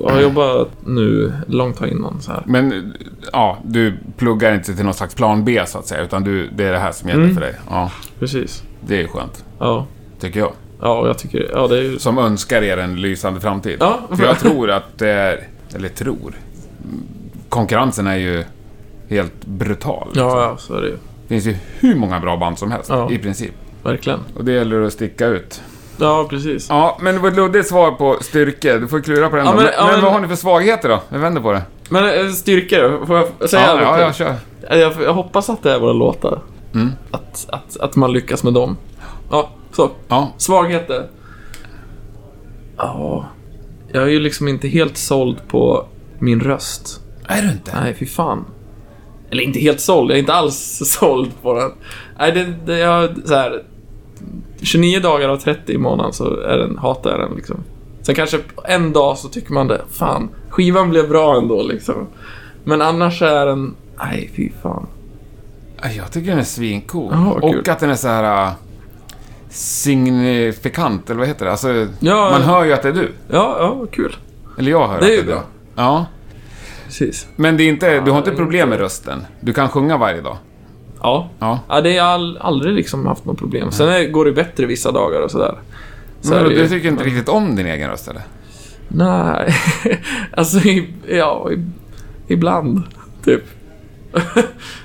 [SPEAKER 1] Jag har jobbat nu långt här innan så här.
[SPEAKER 2] Men ja, du pluggar inte till någon slags plan B så att säga, utan du, det är det här som gäller
[SPEAKER 1] Mm.
[SPEAKER 2] för dig. Ja,
[SPEAKER 1] Precis.
[SPEAKER 2] det är ju skönt,
[SPEAKER 1] Ja.
[SPEAKER 2] tycker jag.
[SPEAKER 1] Ja, och jag tycker... Ja, det är ju...
[SPEAKER 2] som önskar er en lysande framtid.
[SPEAKER 1] Ja.
[SPEAKER 2] För jag tror att det är, eller tror, konkurrensen är ju helt brutal.
[SPEAKER 1] Ja, ja, så är det ju.
[SPEAKER 2] Det finns ju hur många bra band som helst,
[SPEAKER 1] Ja.
[SPEAKER 2] i princip.
[SPEAKER 1] Verkligen.
[SPEAKER 2] Och det gäller att sticka ut.
[SPEAKER 1] Ja, precis.
[SPEAKER 2] Ja, men det var ett luddigt svar på styrka. Du får klura på den
[SPEAKER 1] Ja,
[SPEAKER 2] då.
[SPEAKER 1] men-
[SPEAKER 2] Men,
[SPEAKER 1] ja,
[SPEAKER 2] men,
[SPEAKER 1] men-
[SPEAKER 2] vad har ni för svagheter då? Jag vänder på det.
[SPEAKER 1] Men eh, styrka då? Får jag säga?
[SPEAKER 2] Ja, ja,
[SPEAKER 1] lite? Eh,
[SPEAKER 2] jag kör. Mm.
[SPEAKER 1] Jag, jag hoppas att det är våra låtar. Att, att, att man lyckas med dem. Ja, så.
[SPEAKER 2] Ja.
[SPEAKER 1] Svagheter. Ja, jag är ju liksom inte helt såld på min röst.
[SPEAKER 2] Är du inte?
[SPEAKER 1] Nej, fy fan. Eller inte helt såld, jag är inte alls såld på den. Nej, det, det, jag, så här, 29 dagar av 30 i månaden så är den, hatar jag den liksom. Sen kanske en dag så tycker man det, fan, skivan blev bra ändå liksom. Men annars är den, nej fy fan.
[SPEAKER 2] Ja, Ah, Jag tycker den är svincool.
[SPEAKER 1] Jaha, vad kul.
[SPEAKER 2] Och att den är så här... äh, Signifikant, eller vad heter det? Alltså,
[SPEAKER 1] Ja,
[SPEAKER 2] man
[SPEAKER 1] ja.
[SPEAKER 2] hör ju att det är du.
[SPEAKER 1] Ja, ja, vad kul.
[SPEAKER 2] Eller jag hör
[SPEAKER 1] Det är ju
[SPEAKER 2] att det är
[SPEAKER 1] bra.
[SPEAKER 2] du. Ja.
[SPEAKER 1] Precis.
[SPEAKER 2] Men det är inte, du har inte
[SPEAKER 1] det är
[SPEAKER 2] problem med rösten? Du kan sjunga varje dag?
[SPEAKER 1] Ja.
[SPEAKER 2] Ja.
[SPEAKER 1] Ja, det har jag all, aldrig liksom haft något problem. Sen är, går det bättre vissa dagar och sådär. Så
[SPEAKER 2] Men
[SPEAKER 1] är
[SPEAKER 2] vadå,
[SPEAKER 1] det ju-
[SPEAKER 2] du tycker inte riktigt om din egen röst, eller?
[SPEAKER 1] Nej, alltså i, ja, i, ibland. Typ.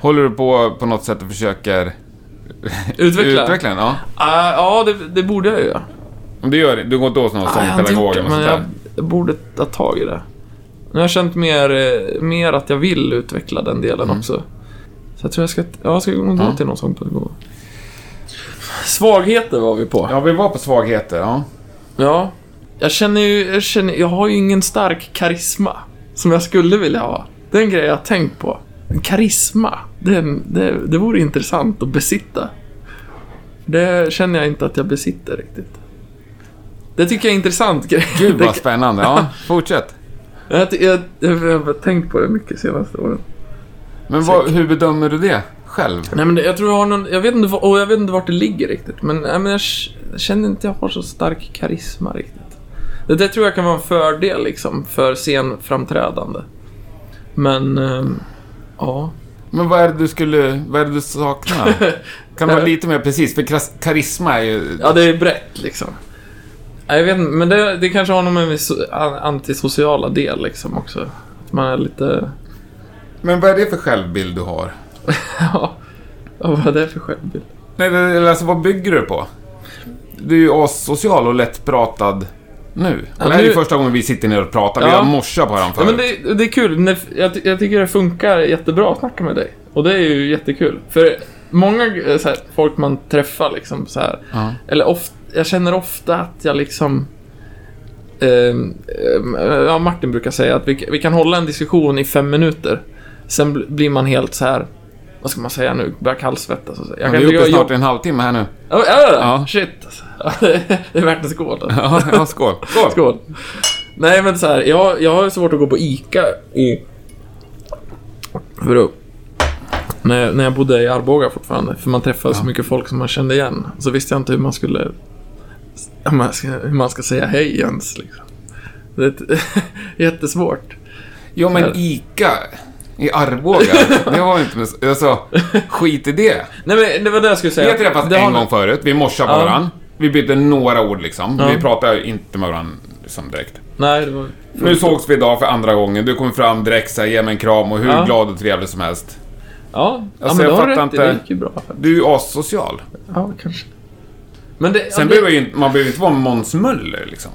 [SPEAKER 2] Håller du på på något sätt och försöker
[SPEAKER 1] Utveckla?
[SPEAKER 2] utveckla den? Ja.
[SPEAKER 1] Ah, ja, det, det borde jag ju göra.
[SPEAKER 2] Men Du, gör, det- du går inte åt någon
[SPEAKER 1] Ah, jag har inte gjort
[SPEAKER 2] sångpedagog
[SPEAKER 1] det,
[SPEAKER 2] eller något
[SPEAKER 1] men
[SPEAKER 2] sånt
[SPEAKER 1] jag,
[SPEAKER 2] där?
[SPEAKER 1] jag borde ta tag i det. Nu har jag känt mer, eh, mer att jag vill utveckla den delen
[SPEAKER 2] Mm.
[SPEAKER 1] också. Så jag tror jag ska, ja, jag ska gå till någon sån pedagog. Svagheter var vi på.
[SPEAKER 2] Ja, vi var på svagheter. Ja.
[SPEAKER 1] Ja. Jag känner ju, jag känner, jag har ju ingen stark karisma. Som jag skulle vilja ha. Det är en grej jag har tänkt på. Karisma. Det, är en- det, det vore intressant att besitta. Det känner jag inte att jag besitter riktigt. Det tycker jag är en intressant grej.
[SPEAKER 2] Gud
[SPEAKER 1] Det-
[SPEAKER 2] vad spännande. Ja, fortsätt.
[SPEAKER 1] jag, jag, jag, jag har tänkt på det mycket senaste åren.
[SPEAKER 2] Men vad, hur bedömer du det själv?
[SPEAKER 1] Nej men det, jag tror jag har någon, jag vet inte, vad- och jag vet inte vart det ligger riktigt. Men, nej, men jag k- känner inte jag har så stark karisma riktigt. Det där tror jag kan vara en fördel liksom för scenframträdande. Men, ehm, ja.
[SPEAKER 2] Men vad är det du skulle, vad är det du saknar? Kan du vara lite mer precis? För kras- karisma är ju...
[SPEAKER 1] Ja det är brett liksom. Nej, Jag vet inte, men det, det kanske har någon med min so- an- antisociala del liksom också. Att man är lite,
[SPEAKER 2] Men vad är det för självbild du har?
[SPEAKER 1] ja. ja, Vad är det för självbild?
[SPEAKER 2] Nej, det- eller alltså vad bygger du på? Du är ju asocial och lättpratad nu. Och det här är ju
[SPEAKER 1] nu-
[SPEAKER 2] första gången vi sitter ner och pratar. Vi
[SPEAKER 1] Ja.
[SPEAKER 2] har morsat på varandra
[SPEAKER 1] Ja, men
[SPEAKER 2] förut.
[SPEAKER 1] det, det är kul. När- Jag, ty- jag tycker det funkar jättebra att snacka med dig. Och det är ju jättekul. För många eh, så här, folk man träffar liksom så här.
[SPEAKER 2] Ja.
[SPEAKER 1] Eller ofta, jag känner ofta att jag liksom... ehm, ehm, ja, Martin brukar säga att vi, vi kan hålla en diskussion i fem minuter. Sen bl- blir man helt så här... Vad ska man säga nu? Börjar kallsvettas och så. Jag
[SPEAKER 2] Vi
[SPEAKER 1] kan
[SPEAKER 2] är uppe
[SPEAKER 1] tycka-
[SPEAKER 2] snart i en halvtimme här nu.
[SPEAKER 1] Ja, ja, ja.
[SPEAKER 2] Ja.
[SPEAKER 1] Shit. alltså. det är värt en skål. Alltså.
[SPEAKER 2] Ja, ja skål. Skål.
[SPEAKER 1] Skål. Nej men så här, jag, jag har svårt att gå på ICA i... Vadå? När, jag- när jag bodde i Arboga fortfarande. För man träffade så mycket folk som man kände igen. Så visste jag inte hur man skulle... hur man ska- Hur man ska säga hej ens liksom. Det är ett- jättesvårt.
[SPEAKER 2] Jo, men ICA i Arboga. Det har ju inte med... Alltså, skit i det.
[SPEAKER 1] Nej men det var det jag skulle
[SPEAKER 2] Vi
[SPEAKER 1] säga.
[SPEAKER 2] har träffats
[SPEAKER 1] Eh, Det har
[SPEAKER 2] en
[SPEAKER 1] ni-
[SPEAKER 2] gång förut. Vi morsade på
[SPEAKER 1] Ja.
[SPEAKER 2] varandra. Vi bytte några ord liksom.
[SPEAKER 1] Ja.
[SPEAKER 2] Vi pratar ju inte med varandra liksom, direkt.
[SPEAKER 1] Nej, det var...
[SPEAKER 2] Nu sågs vi idag för andra gången. Du kom fram direkt såhär, ge mig en kram och hur
[SPEAKER 1] Ja.
[SPEAKER 2] glad och trevlig som helst.
[SPEAKER 1] Ja, ja
[SPEAKER 2] Alltså,
[SPEAKER 1] men
[SPEAKER 2] jag
[SPEAKER 1] då har du
[SPEAKER 2] fattar
[SPEAKER 1] rätt i. Det
[SPEAKER 2] inte-
[SPEAKER 1] gick ju bra.
[SPEAKER 2] Du är ju associal.
[SPEAKER 1] Ja, kanske. Men det...
[SPEAKER 2] Sen
[SPEAKER 1] ja, det...
[SPEAKER 2] behöver ju, inte- man behöver ju inte vara Måns Möller liksom.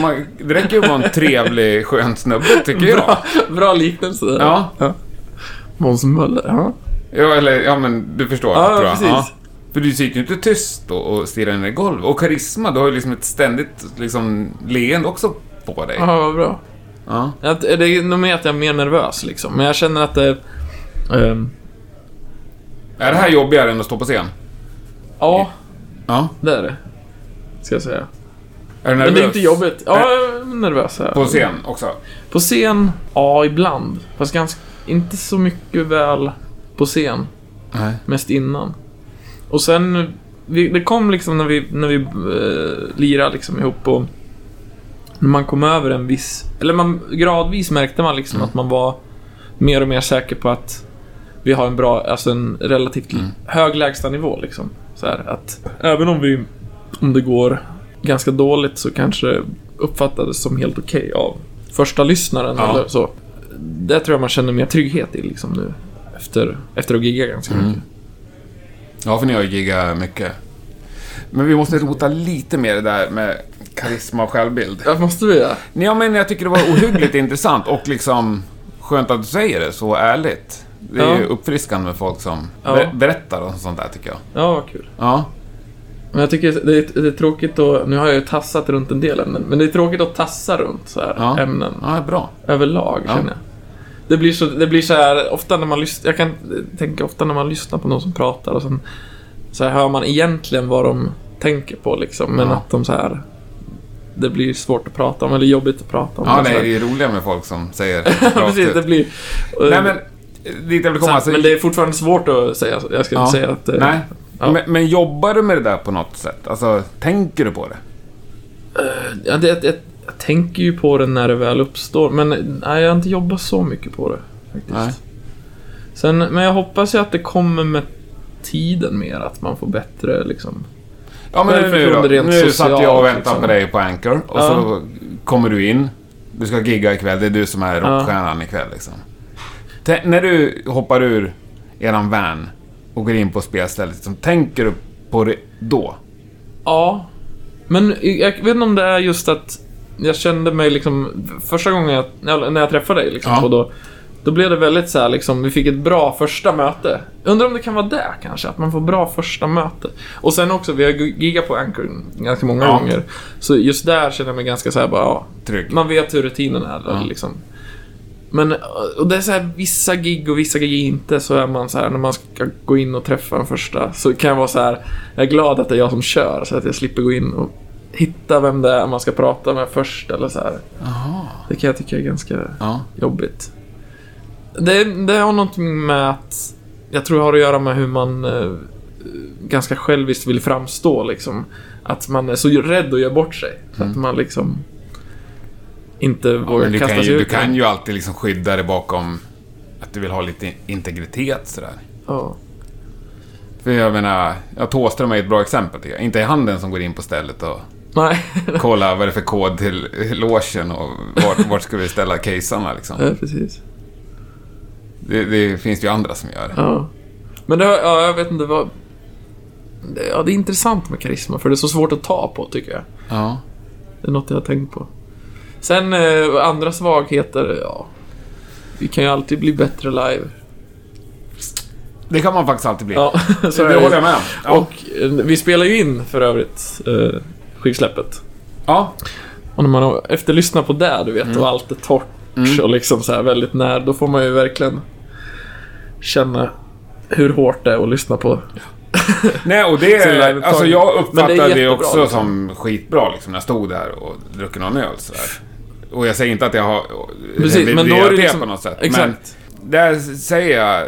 [SPEAKER 2] Man, det räcker ju att vara en trevlig, skön snubbe, tycker jag.
[SPEAKER 1] Bra liknelse. där.
[SPEAKER 2] Ja.
[SPEAKER 1] Måns Möller, ja.
[SPEAKER 2] ja, eller ja men du förstår.
[SPEAKER 1] Ja,
[SPEAKER 2] tror jag.
[SPEAKER 1] precis.
[SPEAKER 2] För du sitter ju inte tyst och, och stirrar ner i golvet. Och karisma, du har ju liksom ett ständigt liksom, leende också på dig.
[SPEAKER 1] Ja, vad bra.
[SPEAKER 2] Ja.
[SPEAKER 1] Att, det är nog mer att jag är mer nervös liksom. Men jag känner att det... ehm,
[SPEAKER 2] Är det här jobbigare än att stå på scen?
[SPEAKER 1] ja,
[SPEAKER 2] Ja.
[SPEAKER 1] det är det. Ska jag säga.
[SPEAKER 2] Är du nervös?
[SPEAKER 1] Men det är inte jobbigt. Ja, jag är nervös här.
[SPEAKER 2] På scen också?
[SPEAKER 1] På scen, ja ibland. Fast ganska, inte så mycket väl på scen.
[SPEAKER 2] Nej.
[SPEAKER 1] Mest innan. Och sen, vi, det kom liksom när vi, när vi eh, lirade liksom ihop och när man kom över en viss, eller man, gradvis märkte man liksom att man var mer och mer säker på att vi har en bra, alltså en relativt hög lägstanivå liksom. Så här, att även om vi, om det går ganska dåligt så kanske uppfattades som helt okej av första lyssnaren
[SPEAKER 2] Ja.
[SPEAKER 1] eller så. Det tror jag man känner mer trygghet i liksom nu. Efter, efter att gigga ganska mycket.
[SPEAKER 2] Ja, för ni har ju giggat mycket. Men vi måste rota lite mer i det där med karisma och självbild.
[SPEAKER 1] Ja, måste vi det?
[SPEAKER 2] Nej, jag menar, jag tycker det var ohyggligt intressant och liksom skönt att du säger det så ärligt. Det är
[SPEAKER 1] Ja.
[SPEAKER 2] ju uppfriskande med folk som
[SPEAKER 1] Ja.
[SPEAKER 2] ber- berättar om sånt där tycker jag.
[SPEAKER 1] Ja, vad kul.
[SPEAKER 2] Ja.
[SPEAKER 1] Men jag tycker det är, det är tråkigt att... Nu har jag ju tassat runt en del ämnen, men det är tråkigt att tassa runt så här
[SPEAKER 2] Ja.
[SPEAKER 1] ämnen
[SPEAKER 2] Ja, bra.
[SPEAKER 1] överlag, känner jag. Det blir, så, det blir så här, ofta när man lyssnar... Jag kan tänka ofta när man lyssnar på någon som pratar och sen så här hör man egentligen vad de tänker på liksom, men
[SPEAKER 2] Ja.
[SPEAKER 1] att de så här... Det blir svårt att prata om, eller jobbigt att prata om.
[SPEAKER 2] Ja,
[SPEAKER 1] Och så
[SPEAKER 2] nej,
[SPEAKER 1] här.
[SPEAKER 2] det är ju roliga med folk som säger
[SPEAKER 1] Ja, precis, det blir...
[SPEAKER 2] Nej, men dit jag vill komma.
[SPEAKER 1] så,
[SPEAKER 2] alltså-
[SPEAKER 1] men det är fortfarande svårt att säga, jag ska
[SPEAKER 2] Ja.
[SPEAKER 1] inte säga att... eh,
[SPEAKER 2] Nej.
[SPEAKER 1] ja.
[SPEAKER 2] Men, men jobbar du med det där på något sätt? Alltså, tänker du på det?
[SPEAKER 1] Ja, det, jag, jag tänker ju på det när det väl uppstår, men nej, jag har inte jobbat så mycket på det. Faktiskt.
[SPEAKER 2] Nej.
[SPEAKER 1] Sen, men jag hoppas ju att det kommer med tiden mer, att man får bättre liksom...
[SPEAKER 2] Ja, men nu, nu då.
[SPEAKER 1] Självförtroende rent
[SPEAKER 2] Nu
[SPEAKER 1] socialt,
[SPEAKER 2] satt jag och väntade
[SPEAKER 1] liksom.
[SPEAKER 2] på dig på Anchor och
[SPEAKER 1] Ja.
[SPEAKER 2] så kommer du in. Du ska gigga ikväll. Det är du som är rockstjärnan ikväll liksom. Tä- när du hoppar ur eran van och går in på spelstället, liksom, tänker du på det då?
[SPEAKER 1] Ja. Men jag vet inte om det är just att jag kände mig liksom... Första gången jag, när när jag träffade dig liksom,
[SPEAKER 2] Ja.
[SPEAKER 1] och då, då blev det väldigt så här liksom, vi fick ett bra första möte. Undrar om det kan vara det kanske, att man får bra första möte. Och sen också, vi har giggat på Anchor ganska många
[SPEAKER 2] Ja.
[SPEAKER 1] gånger. Så just där känner jag mig ganska så här bara, ja.
[SPEAKER 2] Trygg.
[SPEAKER 1] Man vet hur rutinen är
[SPEAKER 2] Ja.
[SPEAKER 1] liksom. Men och det är så här, vissa gig och vissa gig inte, så är man så här när man ska gå in och träffa en första så kan jag vara så här, jag är glad att det är jag som kör så att jag slipper gå in och hitta vem det är man ska prata med först eller så här. Det kan jag tycka är ganska
[SPEAKER 2] Ja.
[SPEAKER 1] jobbigt. Det, det har någonting med att jag tror det har att göra med hur man eh, ganska själviskt vill framstå liksom. Att man är så rädd att göra bort sig. Så att man liksom inte vågar
[SPEAKER 2] Mm. Men du,
[SPEAKER 1] kasta
[SPEAKER 2] kan
[SPEAKER 1] sig
[SPEAKER 2] ju, du
[SPEAKER 1] ut. i det.
[SPEAKER 2] kan ju alltid liksom skydda dig bakom att du vill ha lite integritet sådär.
[SPEAKER 1] Ja.
[SPEAKER 2] För jag menar, ja, Thåström är ett bra exempel tycker jag. Inte är han den som går in på stället och
[SPEAKER 1] Nej,
[SPEAKER 2] kollar vad det är för kod till logen och vart, vart ska vi ställa casearna liksom.
[SPEAKER 1] ja, precis.
[SPEAKER 2] Det, det finns ju andra som gör det.
[SPEAKER 1] Ja. Men det, har- ja, jag vet inte vad... Det- Ja, det är intressant med karisma för det är så svårt att ta på tycker jag.
[SPEAKER 2] Ja.
[SPEAKER 1] Det är något jag har tänkt på. Sen eh, andra svagheter, ja. Vi kan ju alltid bli bättre live.
[SPEAKER 2] Det kan man faktiskt alltid bli.
[SPEAKER 1] Ja, så
[SPEAKER 2] det
[SPEAKER 1] är ju.
[SPEAKER 2] håller jag med om. Ja.
[SPEAKER 1] Och eh, vi spelar ju in för övrigt eh, skivsläppet.
[SPEAKER 2] ja.
[SPEAKER 1] Och när man efterlyssnar på det, du vet,
[SPEAKER 2] Mm.
[SPEAKER 1] och allt är torrt och liksom så här väldigt nära, då får man ju verkligen känna hur hårt det är att lyssna på.
[SPEAKER 2] Nej, och det
[SPEAKER 1] Så live
[SPEAKER 2] är...
[SPEAKER 1] ett
[SPEAKER 2] Alltså
[SPEAKER 1] tag.
[SPEAKER 2] jag
[SPEAKER 1] Men det är
[SPEAKER 2] uppfattade det,
[SPEAKER 1] jättebra,
[SPEAKER 2] också
[SPEAKER 1] liksom.
[SPEAKER 2] som skitbra liksom, när jag stod där och druckit någon öl sådär. Och jag säger inte att jag har
[SPEAKER 1] Precis, men då är det
[SPEAKER 2] reviderat
[SPEAKER 1] liksom-
[SPEAKER 2] på något sätt.
[SPEAKER 1] Exakt.
[SPEAKER 2] Men där säger jag... eh,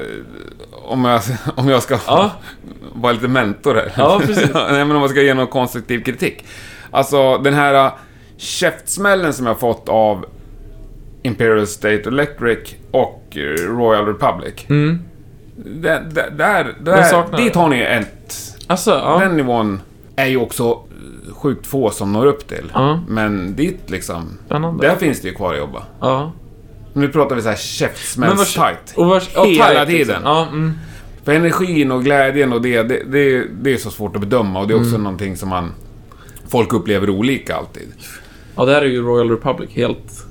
[SPEAKER 2] Om jag, om jag ska
[SPEAKER 1] Ja.
[SPEAKER 2] vara lite mentor här.
[SPEAKER 1] Ja, precis.
[SPEAKER 2] Nej, men om man ska ge någon konstruktiv kritik. Alltså, den här eh, käftsmällen som jag fått av Imperial State Electric och eh, Royal Republic. Där, där, där, där,
[SPEAKER 1] Mm. saknar
[SPEAKER 2] dit
[SPEAKER 1] det.
[SPEAKER 2] har ni ett
[SPEAKER 1] Alltså, ja.
[SPEAKER 2] den nivån är ju också eh, sjukt få som når upp till.
[SPEAKER 1] Ja.
[SPEAKER 2] Men dit liksom,
[SPEAKER 1] Spännande.
[SPEAKER 2] där finns det ju kvar att jobba.
[SPEAKER 1] ja.
[SPEAKER 2] Nu pratar vi så här käftsmälls tight.
[SPEAKER 1] och vars, ja,
[SPEAKER 2] Hela
[SPEAKER 1] tight,
[SPEAKER 2] tiden.
[SPEAKER 1] Liksom. Ja, mm.
[SPEAKER 2] För energin och glädjen och det, det, det, det är så svårt att bedöma och det är också
[SPEAKER 1] Mm.
[SPEAKER 2] någonting som man... Folk upplever olika alltid.
[SPEAKER 1] ja, där är ju Royal Republic helt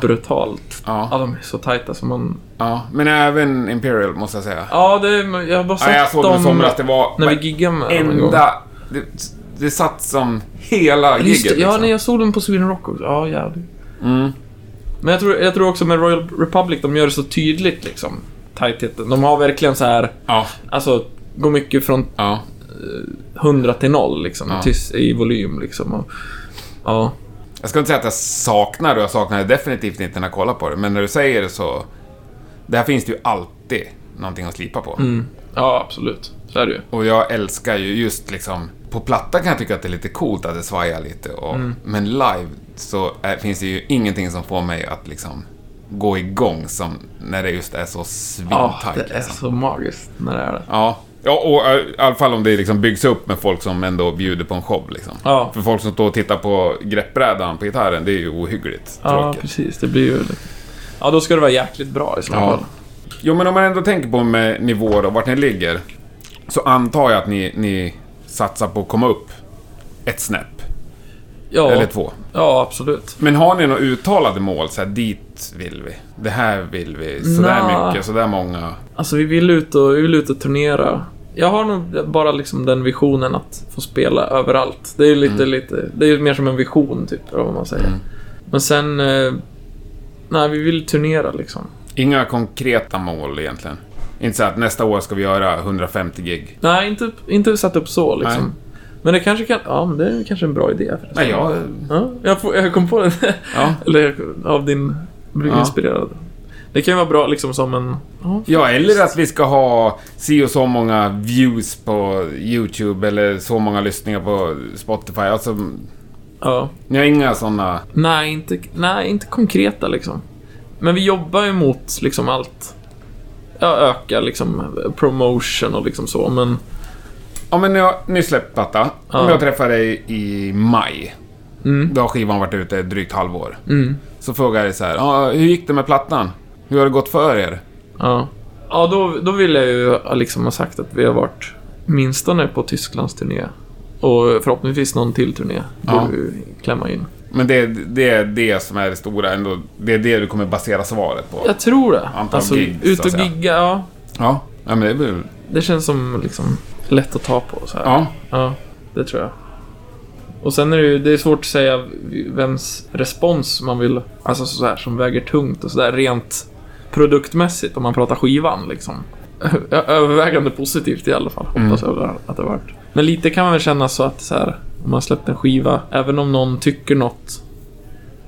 [SPEAKER 1] brutalt.
[SPEAKER 2] Ja.
[SPEAKER 1] ja, de är så tajta som man...
[SPEAKER 2] Ja, men även Imperial måste jag säga.
[SPEAKER 1] Ja, det är, jag har bara sett
[SPEAKER 2] Nej, jag såg dem i
[SPEAKER 1] dem
[SPEAKER 2] somras, det var...
[SPEAKER 1] när vi giggade med dem en gång.
[SPEAKER 2] enda... Det, det satt som hela
[SPEAKER 1] Just det,
[SPEAKER 2] giget
[SPEAKER 1] ja,
[SPEAKER 2] liksom. Mm.
[SPEAKER 1] nej, jag såg den på Sweden Rock också. Ja, jävlar. Men jag tror, jag tror också med Royal Republic, de gör det så tydligt liksom. Tajtheten. De har verkligen så här,
[SPEAKER 2] ja,
[SPEAKER 1] alltså, går mycket från
[SPEAKER 2] ja.
[SPEAKER 1] 100 till 0 liksom.
[SPEAKER 2] Ja.
[SPEAKER 1] Tyst, I volym liksom. Och, ja.
[SPEAKER 2] Jag ska inte säga att jag saknar det, jag saknar det definitivt inte när jag kollar på det. Men när du säger det så... Där finns det ju alltid någonting att slipa på.
[SPEAKER 1] Mm. ja, absolut. Så är det ju.
[SPEAKER 2] Och jag älskar ju just liksom... På platta kan jag tycka att det är lite coolt att det svajar lite. Och,
[SPEAKER 1] Mm.
[SPEAKER 2] Men live så är, finns det ju ingenting som får mig att liksom gå igång som när det just är så
[SPEAKER 1] Ja,
[SPEAKER 2] svintajt.
[SPEAKER 1] det är
[SPEAKER 2] liksom.
[SPEAKER 1] så magiskt när det är det.
[SPEAKER 2] Ja. Ja, och eh, i alla fall om det liksom byggs upp med folk som ändå bjuder på en show. Liksom.
[SPEAKER 1] Ja.
[SPEAKER 2] För folk som står och tittar på greppbrädan på gitarren, det är ju ohyggligt
[SPEAKER 1] Ja,
[SPEAKER 2] tråkigt.
[SPEAKER 1] precis. Det blir ju... Ja, då ska det vara jäkligt bra i så
[SPEAKER 2] Ja.
[SPEAKER 1] fall.
[SPEAKER 2] Jo, men om man ändå tänker på med nivåer och vart ni ligger. Så antar jag att ni, ni satsar på att komma upp ett snäpp.
[SPEAKER 1] Ja.
[SPEAKER 2] Eller två.
[SPEAKER 1] Ja, absolut.
[SPEAKER 2] Men har ni några uttalade mål? Så här, dit vill vi. Det här vill vi. Så där
[SPEAKER 1] Nja.
[SPEAKER 2] mycket, så där många.
[SPEAKER 1] Alltså vi vill ut och, vi vill ut och turnera. Jag har nog bara liksom den visionen att få spela överallt. Det är ju lite,
[SPEAKER 2] Mm.
[SPEAKER 1] lite, det är ju mer som en vision typ, eller vad man säger. Men sen, eh, nej vi vill turnera liksom.
[SPEAKER 2] Inga konkreta mål egentligen. Inte så att nästa år ska vi göra 150 gig.
[SPEAKER 1] Nej, inte, inte satt upp så liksom.
[SPEAKER 2] Nej.
[SPEAKER 1] Men det kanske kan, ja men det är kanske en bra idé förresten.
[SPEAKER 2] Nej, jag...
[SPEAKER 1] Ja, jag, får, jag kom på det.
[SPEAKER 2] Ja.
[SPEAKER 1] Eller jag- av din, blev
[SPEAKER 2] Ja.
[SPEAKER 1] inspirerad. Det kan ju vara bra liksom som en, ja,
[SPEAKER 2] Ja, eller att vi ska ha si och så många views på YouTube eller så många lyssningar på Spotify. Alltså,
[SPEAKER 1] ja.
[SPEAKER 2] ni har inga sådana...
[SPEAKER 1] Nej, inte, nej, inte konkreta liksom. Men vi jobbar ju mot liksom allt. Ja, öka liksom promotion och liksom så, men
[SPEAKER 2] Ja, men jag nyss släppt platta. Om jag träffar dig i maj. Då har skivan varit ute ett drygt halvår. Så frågar jag dig så här, "Ja, hur gick det med plattan? Hur har det gått för er?
[SPEAKER 1] ja. Ja, då, då vill jag ju liksom ha sagt att vi har varit åtminstone på Tysklands turné. Och förhoppningsvis någon till turné.
[SPEAKER 2] Ja.
[SPEAKER 1] Borde vi klämma in.
[SPEAKER 2] Men det, det är det som är det stora ändå. Det är det du kommer basera svaret på.
[SPEAKER 1] Jag tror det.
[SPEAKER 2] Antal
[SPEAKER 1] alltså,
[SPEAKER 2] gigs, så
[SPEAKER 1] ut
[SPEAKER 2] att
[SPEAKER 1] och
[SPEAKER 2] säga.
[SPEAKER 1] gigga, ja.
[SPEAKER 2] Ja, ja men det är väl...
[SPEAKER 1] Det känns som liksom lätt att ta på så här.
[SPEAKER 2] Ja.
[SPEAKER 1] Ja, det tror jag. Och sen är det ju det är svårt att säga vems respons man vill, alltså så här som väger tungt och sådär rent produktmässigt om man pratar skivan liksom. Ö- Övervägande positivt i alla fall, hoppas jag att det har varit. Men lite kan man väl känna så att så här, om man släppt en skiva, även om någon tycker något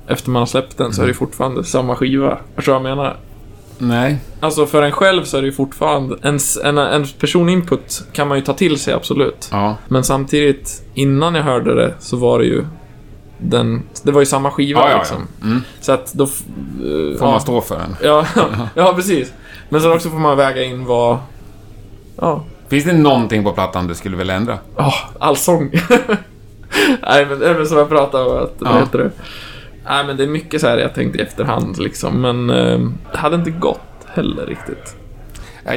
[SPEAKER 1] efter man har släppt den så är det fortfarande samma skiva. Förstår du vad jag menar?
[SPEAKER 2] Nej.
[SPEAKER 1] Alltså för en själv så är det ju fortfarande, ens, en, en personinput kan man ju ta till sig absolut.
[SPEAKER 2] Ja.
[SPEAKER 1] Men samtidigt, innan jag hörde det så var det ju den, det var ju samma skiva
[SPEAKER 2] Ja, Mm. ja, ja.
[SPEAKER 1] liksom. Så att då... f- eh,
[SPEAKER 2] Får
[SPEAKER 1] ja,
[SPEAKER 2] man stå för den.
[SPEAKER 1] Ja, ja, precis. Men sen också får man väga in vad... Ja,
[SPEAKER 2] Finns det någonting på plattan du skulle vilja ändra?
[SPEAKER 1] Ja, allsång. Nej, men, nej, men som jag pratade om, att,
[SPEAKER 2] Ja.
[SPEAKER 1] vad heter det? Nej, men det är mycket så här jag tänkte i efterhand liksom, men eh, det hade inte gått heller riktigt.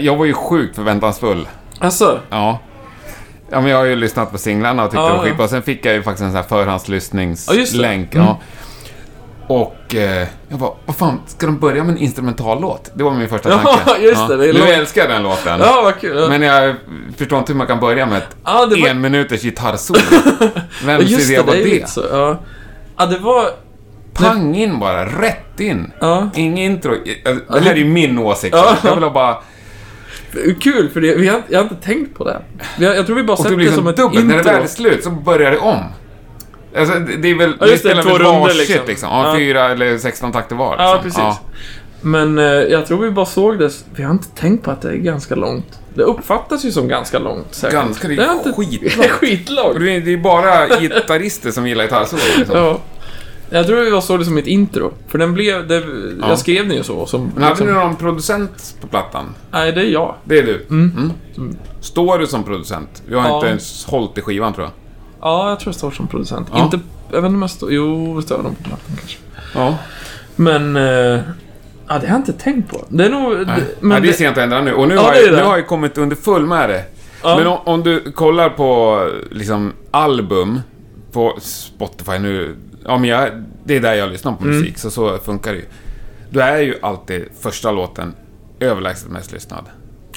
[SPEAKER 2] Jag var ju sjukt förväntansfull.
[SPEAKER 1] Alltså,
[SPEAKER 2] Ja. Ja, men jag har ju lyssnat på singlarna och tyckte
[SPEAKER 1] Ja,
[SPEAKER 2] det var
[SPEAKER 1] ja.
[SPEAKER 2] skitbra. Sen fick jag ju faktiskt en sån här
[SPEAKER 1] Ja, just det. Mm.
[SPEAKER 2] förhandslyssningslänk. Ja, Och eh, jag bara, vad fan, ska de börja med en instrumentallåt? Det var min första
[SPEAKER 1] Ja,
[SPEAKER 2] tanke.
[SPEAKER 1] just det, det är
[SPEAKER 2] nu
[SPEAKER 1] lång-
[SPEAKER 2] älskar jag den låten.
[SPEAKER 1] ja vad kul.
[SPEAKER 2] Men jag förstår inte hur man kan börja med ett
[SPEAKER 1] Ja, det var-
[SPEAKER 2] en minuters gitarrsolo. Vem
[SPEAKER 1] Ja, just
[SPEAKER 2] idé
[SPEAKER 1] det,
[SPEAKER 2] var
[SPEAKER 1] det är ju
[SPEAKER 2] det?
[SPEAKER 1] lite så. Ja. ja, det var...
[SPEAKER 2] Pang in bara, rätt in.
[SPEAKER 1] Ja.
[SPEAKER 2] Ingen intro. Det här är ju min åsikt.
[SPEAKER 1] Ja.
[SPEAKER 2] Jag vill ha bara...
[SPEAKER 1] Kul, för det, vi har, jag har inte tänkt på det. Vi har, jag tror vi bara
[SPEAKER 2] Och det
[SPEAKER 1] sett
[SPEAKER 2] blir
[SPEAKER 1] det
[SPEAKER 2] som
[SPEAKER 1] som ett
[SPEAKER 2] dubbelt. När det väl är
[SPEAKER 1] intro.
[SPEAKER 2] slut så börjar det om. Alltså, det det är väl...
[SPEAKER 1] Ja, just det,
[SPEAKER 2] vi spelar
[SPEAKER 1] två
[SPEAKER 2] väl
[SPEAKER 1] runder
[SPEAKER 2] varsitt,
[SPEAKER 1] liksom.
[SPEAKER 2] Ja,
[SPEAKER 1] Ja.
[SPEAKER 2] Fyra eller 16 takter var.
[SPEAKER 1] Ja,
[SPEAKER 2] liksom.
[SPEAKER 1] precis. Men eh, jag tror vi bara såg det. Vi har inte tänkt på att det är ganska långt. Det uppfattas ju som ganska långt säkert.
[SPEAKER 2] Ganska, det är
[SPEAKER 1] har inte-
[SPEAKER 2] skitlångt.
[SPEAKER 1] Det är skitlångt.
[SPEAKER 2] Och Det är det är bara gitarrister som gillar gitarrsolo. Liksom.
[SPEAKER 1] Ja. Jag tror jag såg det som ett intro. För den blev... Det,
[SPEAKER 2] Ja.
[SPEAKER 1] Jag skrev den ju så. Som,
[SPEAKER 2] Men hade
[SPEAKER 1] liksom,
[SPEAKER 2] du någon producent på plattan?
[SPEAKER 1] Nej, det är jag.
[SPEAKER 2] Det är du? Mm. Står du som producent? Vi har
[SPEAKER 1] Ja.
[SPEAKER 2] inte ens hållit i skivan tror jag.
[SPEAKER 1] Ja, jag tror jag står som producent.
[SPEAKER 2] Ja.
[SPEAKER 1] Inte... Jag vet inte om jag står... Jo, det står nog på plattan kanske.
[SPEAKER 2] Ja.
[SPEAKER 1] Men... Eh, ja, det har jag inte tänkt på. Det är nog...
[SPEAKER 2] Nej.
[SPEAKER 1] Men
[SPEAKER 2] Nej, det är
[SPEAKER 1] det,
[SPEAKER 2] sent att ändra nu. Och nu,
[SPEAKER 1] Ja,
[SPEAKER 2] har,
[SPEAKER 1] det är
[SPEAKER 2] jag,
[SPEAKER 1] det.
[SPEAKER 2] nu har jag kommit under full med det.
[SPEAKER 1] Ja.
[SPEAKER 2] Men om, om du kollar på liksom, album på Spotify nu. Ja, men jag, det är där jag lyssnar
[SPEAKER 1] Mm.
[SPEAKER 2] på musik, så så funkar det ju. Då är ju alltid första låten överlägset mest lyssnad.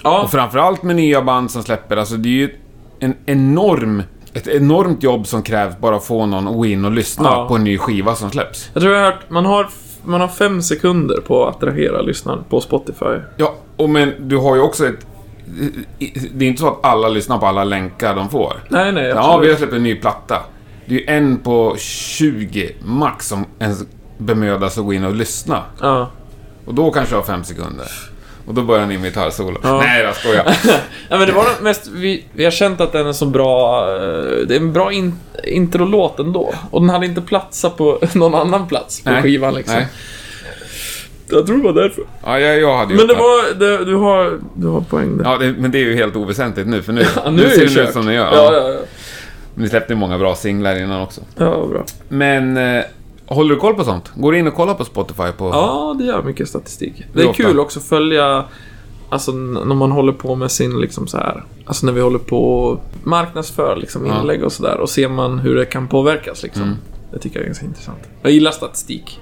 [SPEAKER 1] ja,
[SPEAKER 2] Och framförallt med nya band som släpper, alltså det är ju en enorm, ett enormt jobb som krävs bara att få någon att gå in och lyssna
[SPEAKER 1] Ja.
[SPEAKER 2] på en ny skiva som släpps.
[SPEAKER 1] jag tror jag har hört... Man har, man har fem sekunder på att attrahera lyssnaren på Spotify.
[SPEAKER 2] Ja, och men du har ju också ett... Det är inte så att alla lyssnar på alla länkar de får.
[SPEAKER 1] Nej, nej,
[SPEAKER 2] Ja, vi har
[SPEAKER 1] absolut.
[SPEAKER 2] släppt en ny platta. Det är ju en på 20 max som ens bemödar sig att gå in och lyssna.
[SPEAKER 1] Ja.
[SPEAKER 2] Och då kanske jag har fem sekunder. Och då börjar ni med gitarrsolo. Nej, jag skojar.
[SPEAKER 1] Ja, men det var nog mest, vi, vi har känt att den är så bra, eh, det är en bra in, introlåt ändå. Och den hade inte platsat på någon annan plats på
[SPEAKER 2] Nej,
[SPEAKER 1] skivan liksom.
[SPEAKER 2] nej.
[SPEAKER 1] Jag tror det var därför.
[SPEAKER 2] Ja, jag, jag hade ju
[SPEAKER 1] Men det
[SPEAKER 2] gjort
[SPEAKER 1] var, det, du, har, du har poäng där.
[SPEAKER 2] Ja, det, men det är ju helt oväsentligt nu, för nu,
[SPEAKER 1] Ja,
[SPEAKER 2] nu
[SPEAKER 1] är det
[SPEAKER 2] ser det ut
[SPEAKER 1] kört.
[SPEAKER 2] som ni gör.
[SPEAKER 1] Ja, ja, ja.
[SPEAKER 2] Men Ni släppte ju många bra singlar innan också.
[SPEAKER 1] ja vad bra.
[SPEAKER 2] Men, eh, håller du koll på sånt? Går du in och kollar på Spotify på...
[SPEAKER 1] Ja, det gör mycket statistik. Det
[SPEAKER 2] Hur
[SPEAKER 1] är
[SPEAKER 2] ofta?
[SPEAKER 1] kul också att följa Alltså n- när man håller på med sin liksom så här. Alltså när vi håller på och marknadsför liksom inlägg och sådär. Och ser man hur det kan påverkas liksom. Det tycker jag är ganska intressant. Jag gillar statistik.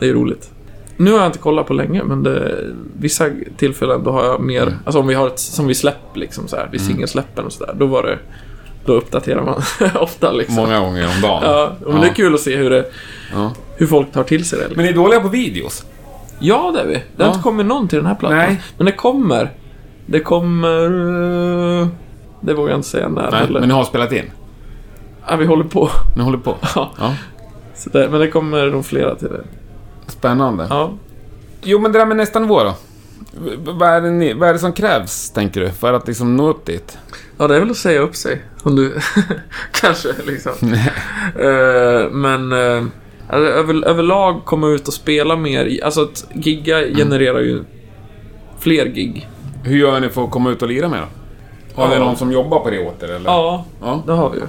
[SPEAKER 1] Det är roligt. Nu har jag inte kollat på länge men det, vissa tillfällen då har jag mer, alltså om vi har ett, som vi släpp liksom så här, vi singelsläppen och sådär. Då var det, då uppdaterar man ofta liksom.
[SPEAKER 2] Många gånger om dagen.
[SPEAKER 1] Ja, men det är kul att se hur det,
[SPEAKER 2] Ja.
[SPEAKER 1] hur folk tar till sig det. Liksom.
[SPEAKER 2] Men ni är dåliga på videos.
[SPEAKER 1] Ja, det är vi. Det har inte kommit någon till den här plattan.
[SPEAKER 2] Nej.
[SPEAKER 1] Men det kommer. Det kommer... eh, Det vågar jag inte säga när
[SPEAKER 2] Nej,
[SPEAKER 1] heller.
[SPEAKER 2] men ni har spelat in.
[SPEAKER 1] Ja, vi håller på.
[SPEAKER 2] Ni håller på.
[SPEAKER 1] Ja.
[SPEAKER 2] Ja.
[SPEAKER 1] Så det, men det kommer nog flera till det.
[SPEAKER 2] Spännande.
[SPEAKER 1] Ja.
[SPEAKER 2] Jo, men det där med nästa nivå då? V- Vad är, det ni, vad är det som krävs, tänker du, för att liksom nå upp dit?
[SPEAKER 1] ja, det är väl att säga upp sig. Om du... Kanske, liksom. Eh, men... eh, alltså, över, överlag komma ut och spela mer. i- Alltså, att gigga
[SPEAKER 2] Mm.
[SPEAKER 1] genererar ju fler gig.
[SPEAKER 2] Hur gör ni för att komma ut och lira med då? Har ni
[SPEAKER 1] Ja.
[SPEAKER 2] någon som jobbar på det åt er, eller?
[SPEAKER 1] Ja,
[SPEAKER 2] Ja.
[SPEAKER 1] det har vi ju.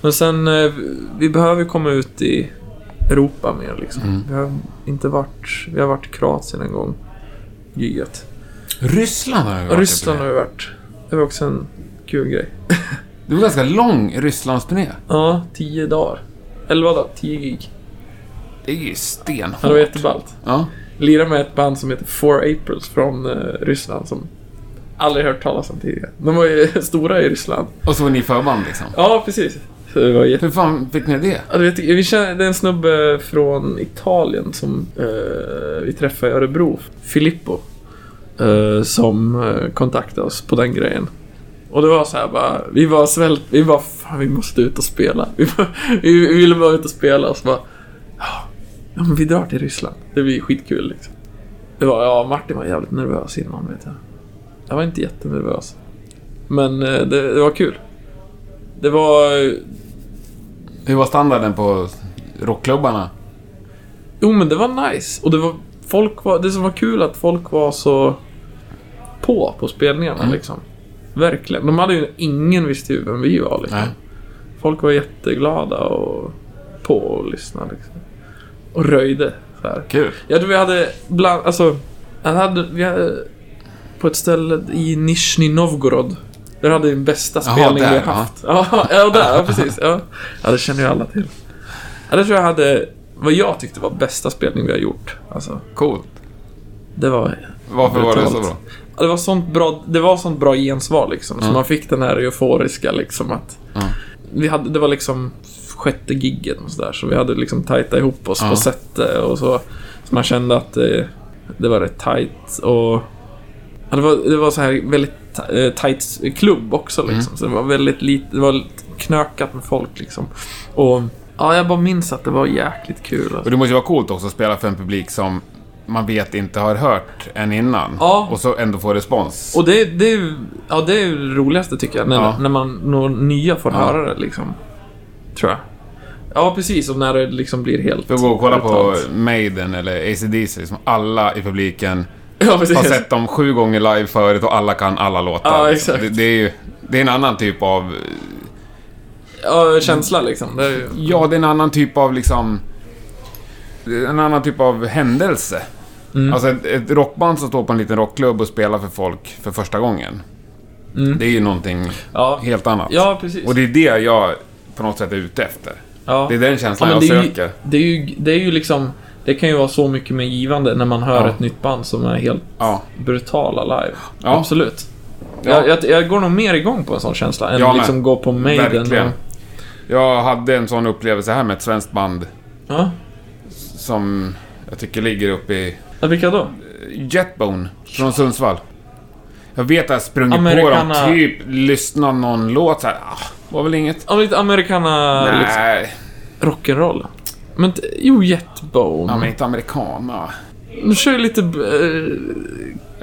[SPEAKER 1] Men sen, eh, vi behöver ju komma ut i Europa mer liksom.
[SPEAKER 2] Mm.
[SPEAKER 1] Vi har inte varit... Vi har varit i Kroatien en gång. Giget.
[SPEAKER 2] Ryssland har jag varit
[SPEAKER 1] Ryssland
[SPEAKER 2] på
[SPEAKER 1] har
[SPEAKER 2] det.
[SPEAKER 1] vi varit. Det var också en kul grej.
[SPEAKER 2] Det var ganska lång Rysslandsturné.
[SPEAKER 1] Ja, tio dagar. Elva dagar, tio gig.
[SPEAKER 2] Det är ju
[SPEAKER 1] Ja, det var
[SPEAKER 2] stenhårt.
[SPEAKER 1] jätteballt.
[SPEAKER 2] Ja.
[SPEAKER 1] Lirade med ett band som heter Four Aprils från eh, Ryssland som aldrig hört talas om tidigare. De var ju stora i Ryssland.
[SPEAKER 2] Och så var ni förband liksom.
[SPEAKER 1] Ja, precis. Så det var jätte...
[SPEAKER 2] Hur fan fick ni det?
[SPEAKER 1] Ja, du Alltså, vet, vi känner, det är en snubbe från Italien som eh, vi träffade i Örebro, Filippo, eh, som eh, kontaktade oss på den grejen. Och det var så här bara, vi var svält, vi var fan vi måste ut och spela. Vi, bara, vi, vi ville bara ut och spela och så bara, "Ja, ja men vi drar till Ryssland. Det blir skitkul liksom. Det var, ja Martin var jävligt nervös innan vet jag. Jag var inte jättenervös. Men eh, det, det var kul. Det var
[SPEAKER 2] Hur var standarden på rockklubbarna?
[SPEAKER 1] Jo men det var nice. Och det var... Folk var... Det som var kul att folk var så... På, på spelningarna liksom. Verkligen. De hade ju... Ingen visste ju vem vi var liksom.
[SPEAKER 2] Nej.
[SPEAKER 1] Folk var jätteglada och... På och lyssnade liksom. Och röjde. Så här.
[SPEAKER 2] Kul.
[SPEAKER 1] Jag tror vi hade bland... Alltså... Jag hade, vi hade... På ett ställe i Nizjnij Novgorod. Där hade vi den bästa
[SPEAKER 2] Jaha,
[SPEAKER 1] spelning vi
[SPEAKER 2] där,
[SPEAKER 1] har haft. Ja, ja där. Ja, precis. Ja. ja, det känner ju alla till. Ja, det tror jag hade... Vad jag tyckte var bästa spelning vi har gjort. Alltså,
[SPEAKER 2] Coolt.
[SPEAKER 1] det var...
[SPEAKER 2] Varför var det så
[SPEAKER 1] brutalt.
[SPEAKER 2] bra?
[SPEAKER 1] Ja, det var sånt bra, det var sånt bra gensvar liksom. Så man fick den här euforiska liksom att... Vi hade, det var liksom sjätte gigget och sådär. Så vi hade liksom tajtat ihop oss på sättet och så. Så man kände att eh, det var rätt tajt och... Ja, det, var, det var så här väldigt ta- eh, tajt klubb också liksom.
[SPEAKER 2] Mm.
[SPEAKER 1] Så det var väldigt lite, det var lite knökat med folk liksom. Och... Ja, jag bara minns att det var jäkligt kul.
[SPEAKER 2] Och
[SPEAKER 1] Alltså.
[SPEAKER 2] det måste ju vara coolt också att spela för en publik som man vet inte har hört än innan.
[SPEAKER 1] Ja.
[SPEAKER 2] Och så ändå få respons.
[SPEAKER 1] Och det, det, är ju- ja, det är ju det roligaste tycker jag, när,
[SPEAKER 2] Ja.
[SPEAKER 1] när man når nya får höra det liksom. Tror jag. Ja, precis. Och när det liksom blir helt...
[SPEAKER 2] För att gå och kolla på
[SPEAKER 1] brutalt.
[SPEAKER 2] Maiden eller ACDC, som alla i publiken
[SPEAKER 1] Ja,
[SPEAKER 2] har
[SPEAKER 1] precis.
[SPEAKER 2] sett dem sju gånger live förut och alla kan alla låtar.
[SPEAKER 1] Ja,
[SPEAKER 2] liksom.
[SPEAKER 1] exakt.
[SPEAKER 2] det, det är ju det är en annan typ av...
[SPEAKER 1] Ja, känsla liksom. Det är ju...
[SPEAKER 2] Ja, det är en annan typ av liksom... det är En annan typ av händelse.
[SPEAKER 1] Mm.
[SPEAKER 2] Alltså ett, ett rockband som står på en liten rockklubb och spelar för folk för första gången. Det är ju någonting
[SPEAKER 1] Mm. Ja.
[SPEAKER 2] helt annat.
[SPEAKER 1] Ja, precis.
[SPEAKER 2] Och det är det jag på något sätt är ute efter.
[SPEAKER 1] ja.
[SPEAKER 2] Det är den känslan
[SPEAKER 1] men
[SPEAKER 2] jag
[SPEAKER 1] det är
[SPEAKER 2] söker.
[SPEAKER 1] Ju, det, är ju, det är ju liksom... Det kan ju vara så mycket mer givande när man hör
[SPEAKER 2] Ja.
[SPEAKER 1] ett nytt band som är helt
[SPEAKER 2] Ja.
[SPEAKER 1] brutala live.
[SPEAKER 2] Ja.
[SPEAKER 1] Absolut.
[SPEAKER 2] Ja.
[SPEAKER 1] Jag, jag, jag går nog mer igång på en sån känsla än
[SPEAKER 2] Jag med.
[SPEAKER 1] liksom gå på Maiden.
[SPEAKER 2] Verkligen.
[SPEAKER 1] Och,
[SPEAKER 2] Jag hade en sån upplevelse här med ett svenskt band
[SPEAKER 1] ja.
[SPEAKER 2] som jag tycker ligger uppe i
[SPEAKER 1] Ja, Vilka då?
[SPEAKER 2] Jetbone från Sundsvall. Jag vet att jag sprungit på
[SPEAKER 1] Americana-
[SPEAKER 2] dem, typ lyssnat någon låt såhär, ah, var väl inget.
[SPEAKER 1] Ja, lite americana... Liksom.
[SPEAKER 2] Nej,
[SPEAKER 1] rock'n'roll. Men t- jo, Jetbone.
[SPEAKER 2] ja, men inte amerikana.
[SPEAKER 1] De kör ju lite eh,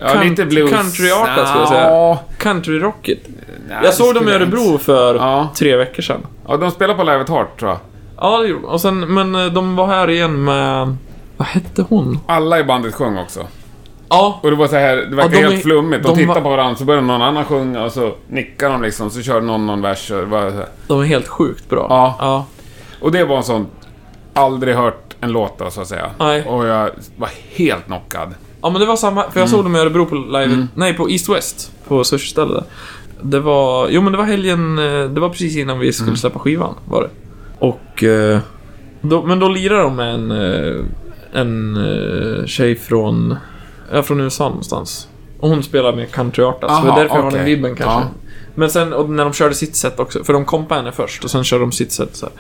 [SPEAKER 2] Ja,
[SPEAKER 1] Country-
[SPEAKER 2] lite blues.
[SPEAKER 1] countryartat, skulle jag säga.
[SPEAKER 2] Ja,
[SPEAKER 1] countryrockigt.
[SPEAKER 2] nej, det
[SPEAKER 1] Jag såg dem i
[SPEAKER 2] skulle jag
[SPEAKER 1] Örebro
[SPEAKER 2] inte-
[SPEAKER 1] för
[SPEAKER 2] Ja.
[SPEAKER 1] tre veckor sedan.
[SPEAKER 2] Ja, de spelar på Live at Heart tror jag.
[SPEAKER 1] Ja, det gjorde de. Och sen, men eh, de var här igen med... Vad hette hon?
[SPEAKER 2] Alla i bandet sjöng också.
[SPEAKER 1] Ja,
[SPEAKER 2] Och det var så här, det verkade
[SPEAKER 1] Ja, de
[SPEAKER 2] helt
[SPEAKER 1] är-
[SPEAKER 2] flummigt. De,
[SPEAKER 1] de
[SPEAKER 2] tittade
[SPEAKER 1] var-
[SPEAKER 2] på varandra, så började någon annan sjunga och så nickade de liksom, så körde någon någon vers. Och det, var så här.
[SPEAKER 1] de är helt sjukt bra.
[SPEAKER 2] Ja.
[SPEAKER 1] ja.
[SPEAKER 2] och det var en sån, aldrig hört en låt då, så att säga.
[SPEAKER 1] Nej.
[SPEAKER 2] Och jag var helt knockad.
[SPEAKER 1] Ja men det var samma, för jag
[SPEAKER 2] Mm.
[SPEAKER 1] såg dem i Örebro på live, nej på East West, på sushistället där. Det var, jo men det var helgen, eh, det var precis innan vi
[SPEAKER 2] Mm.
[SPEAKER 1] skulle släppa skivan var det. Och, eh, då, men då lirade de med en, eh, en eh, tjej från, ja från USA någonstans. Och hon spelar med countryartat, så det är
[SPEAKER 2] Aha,
[SPEAKER 1] därför jag har den
[SPEAKER 2] okej.
[SPEAKER 1] vibben kanske.
[SPEAKER 2] Ja.
[SPEAKER 1] Men sen, och när de körde sitt set också, för de kompade henne först och sen körde de sitt set så här.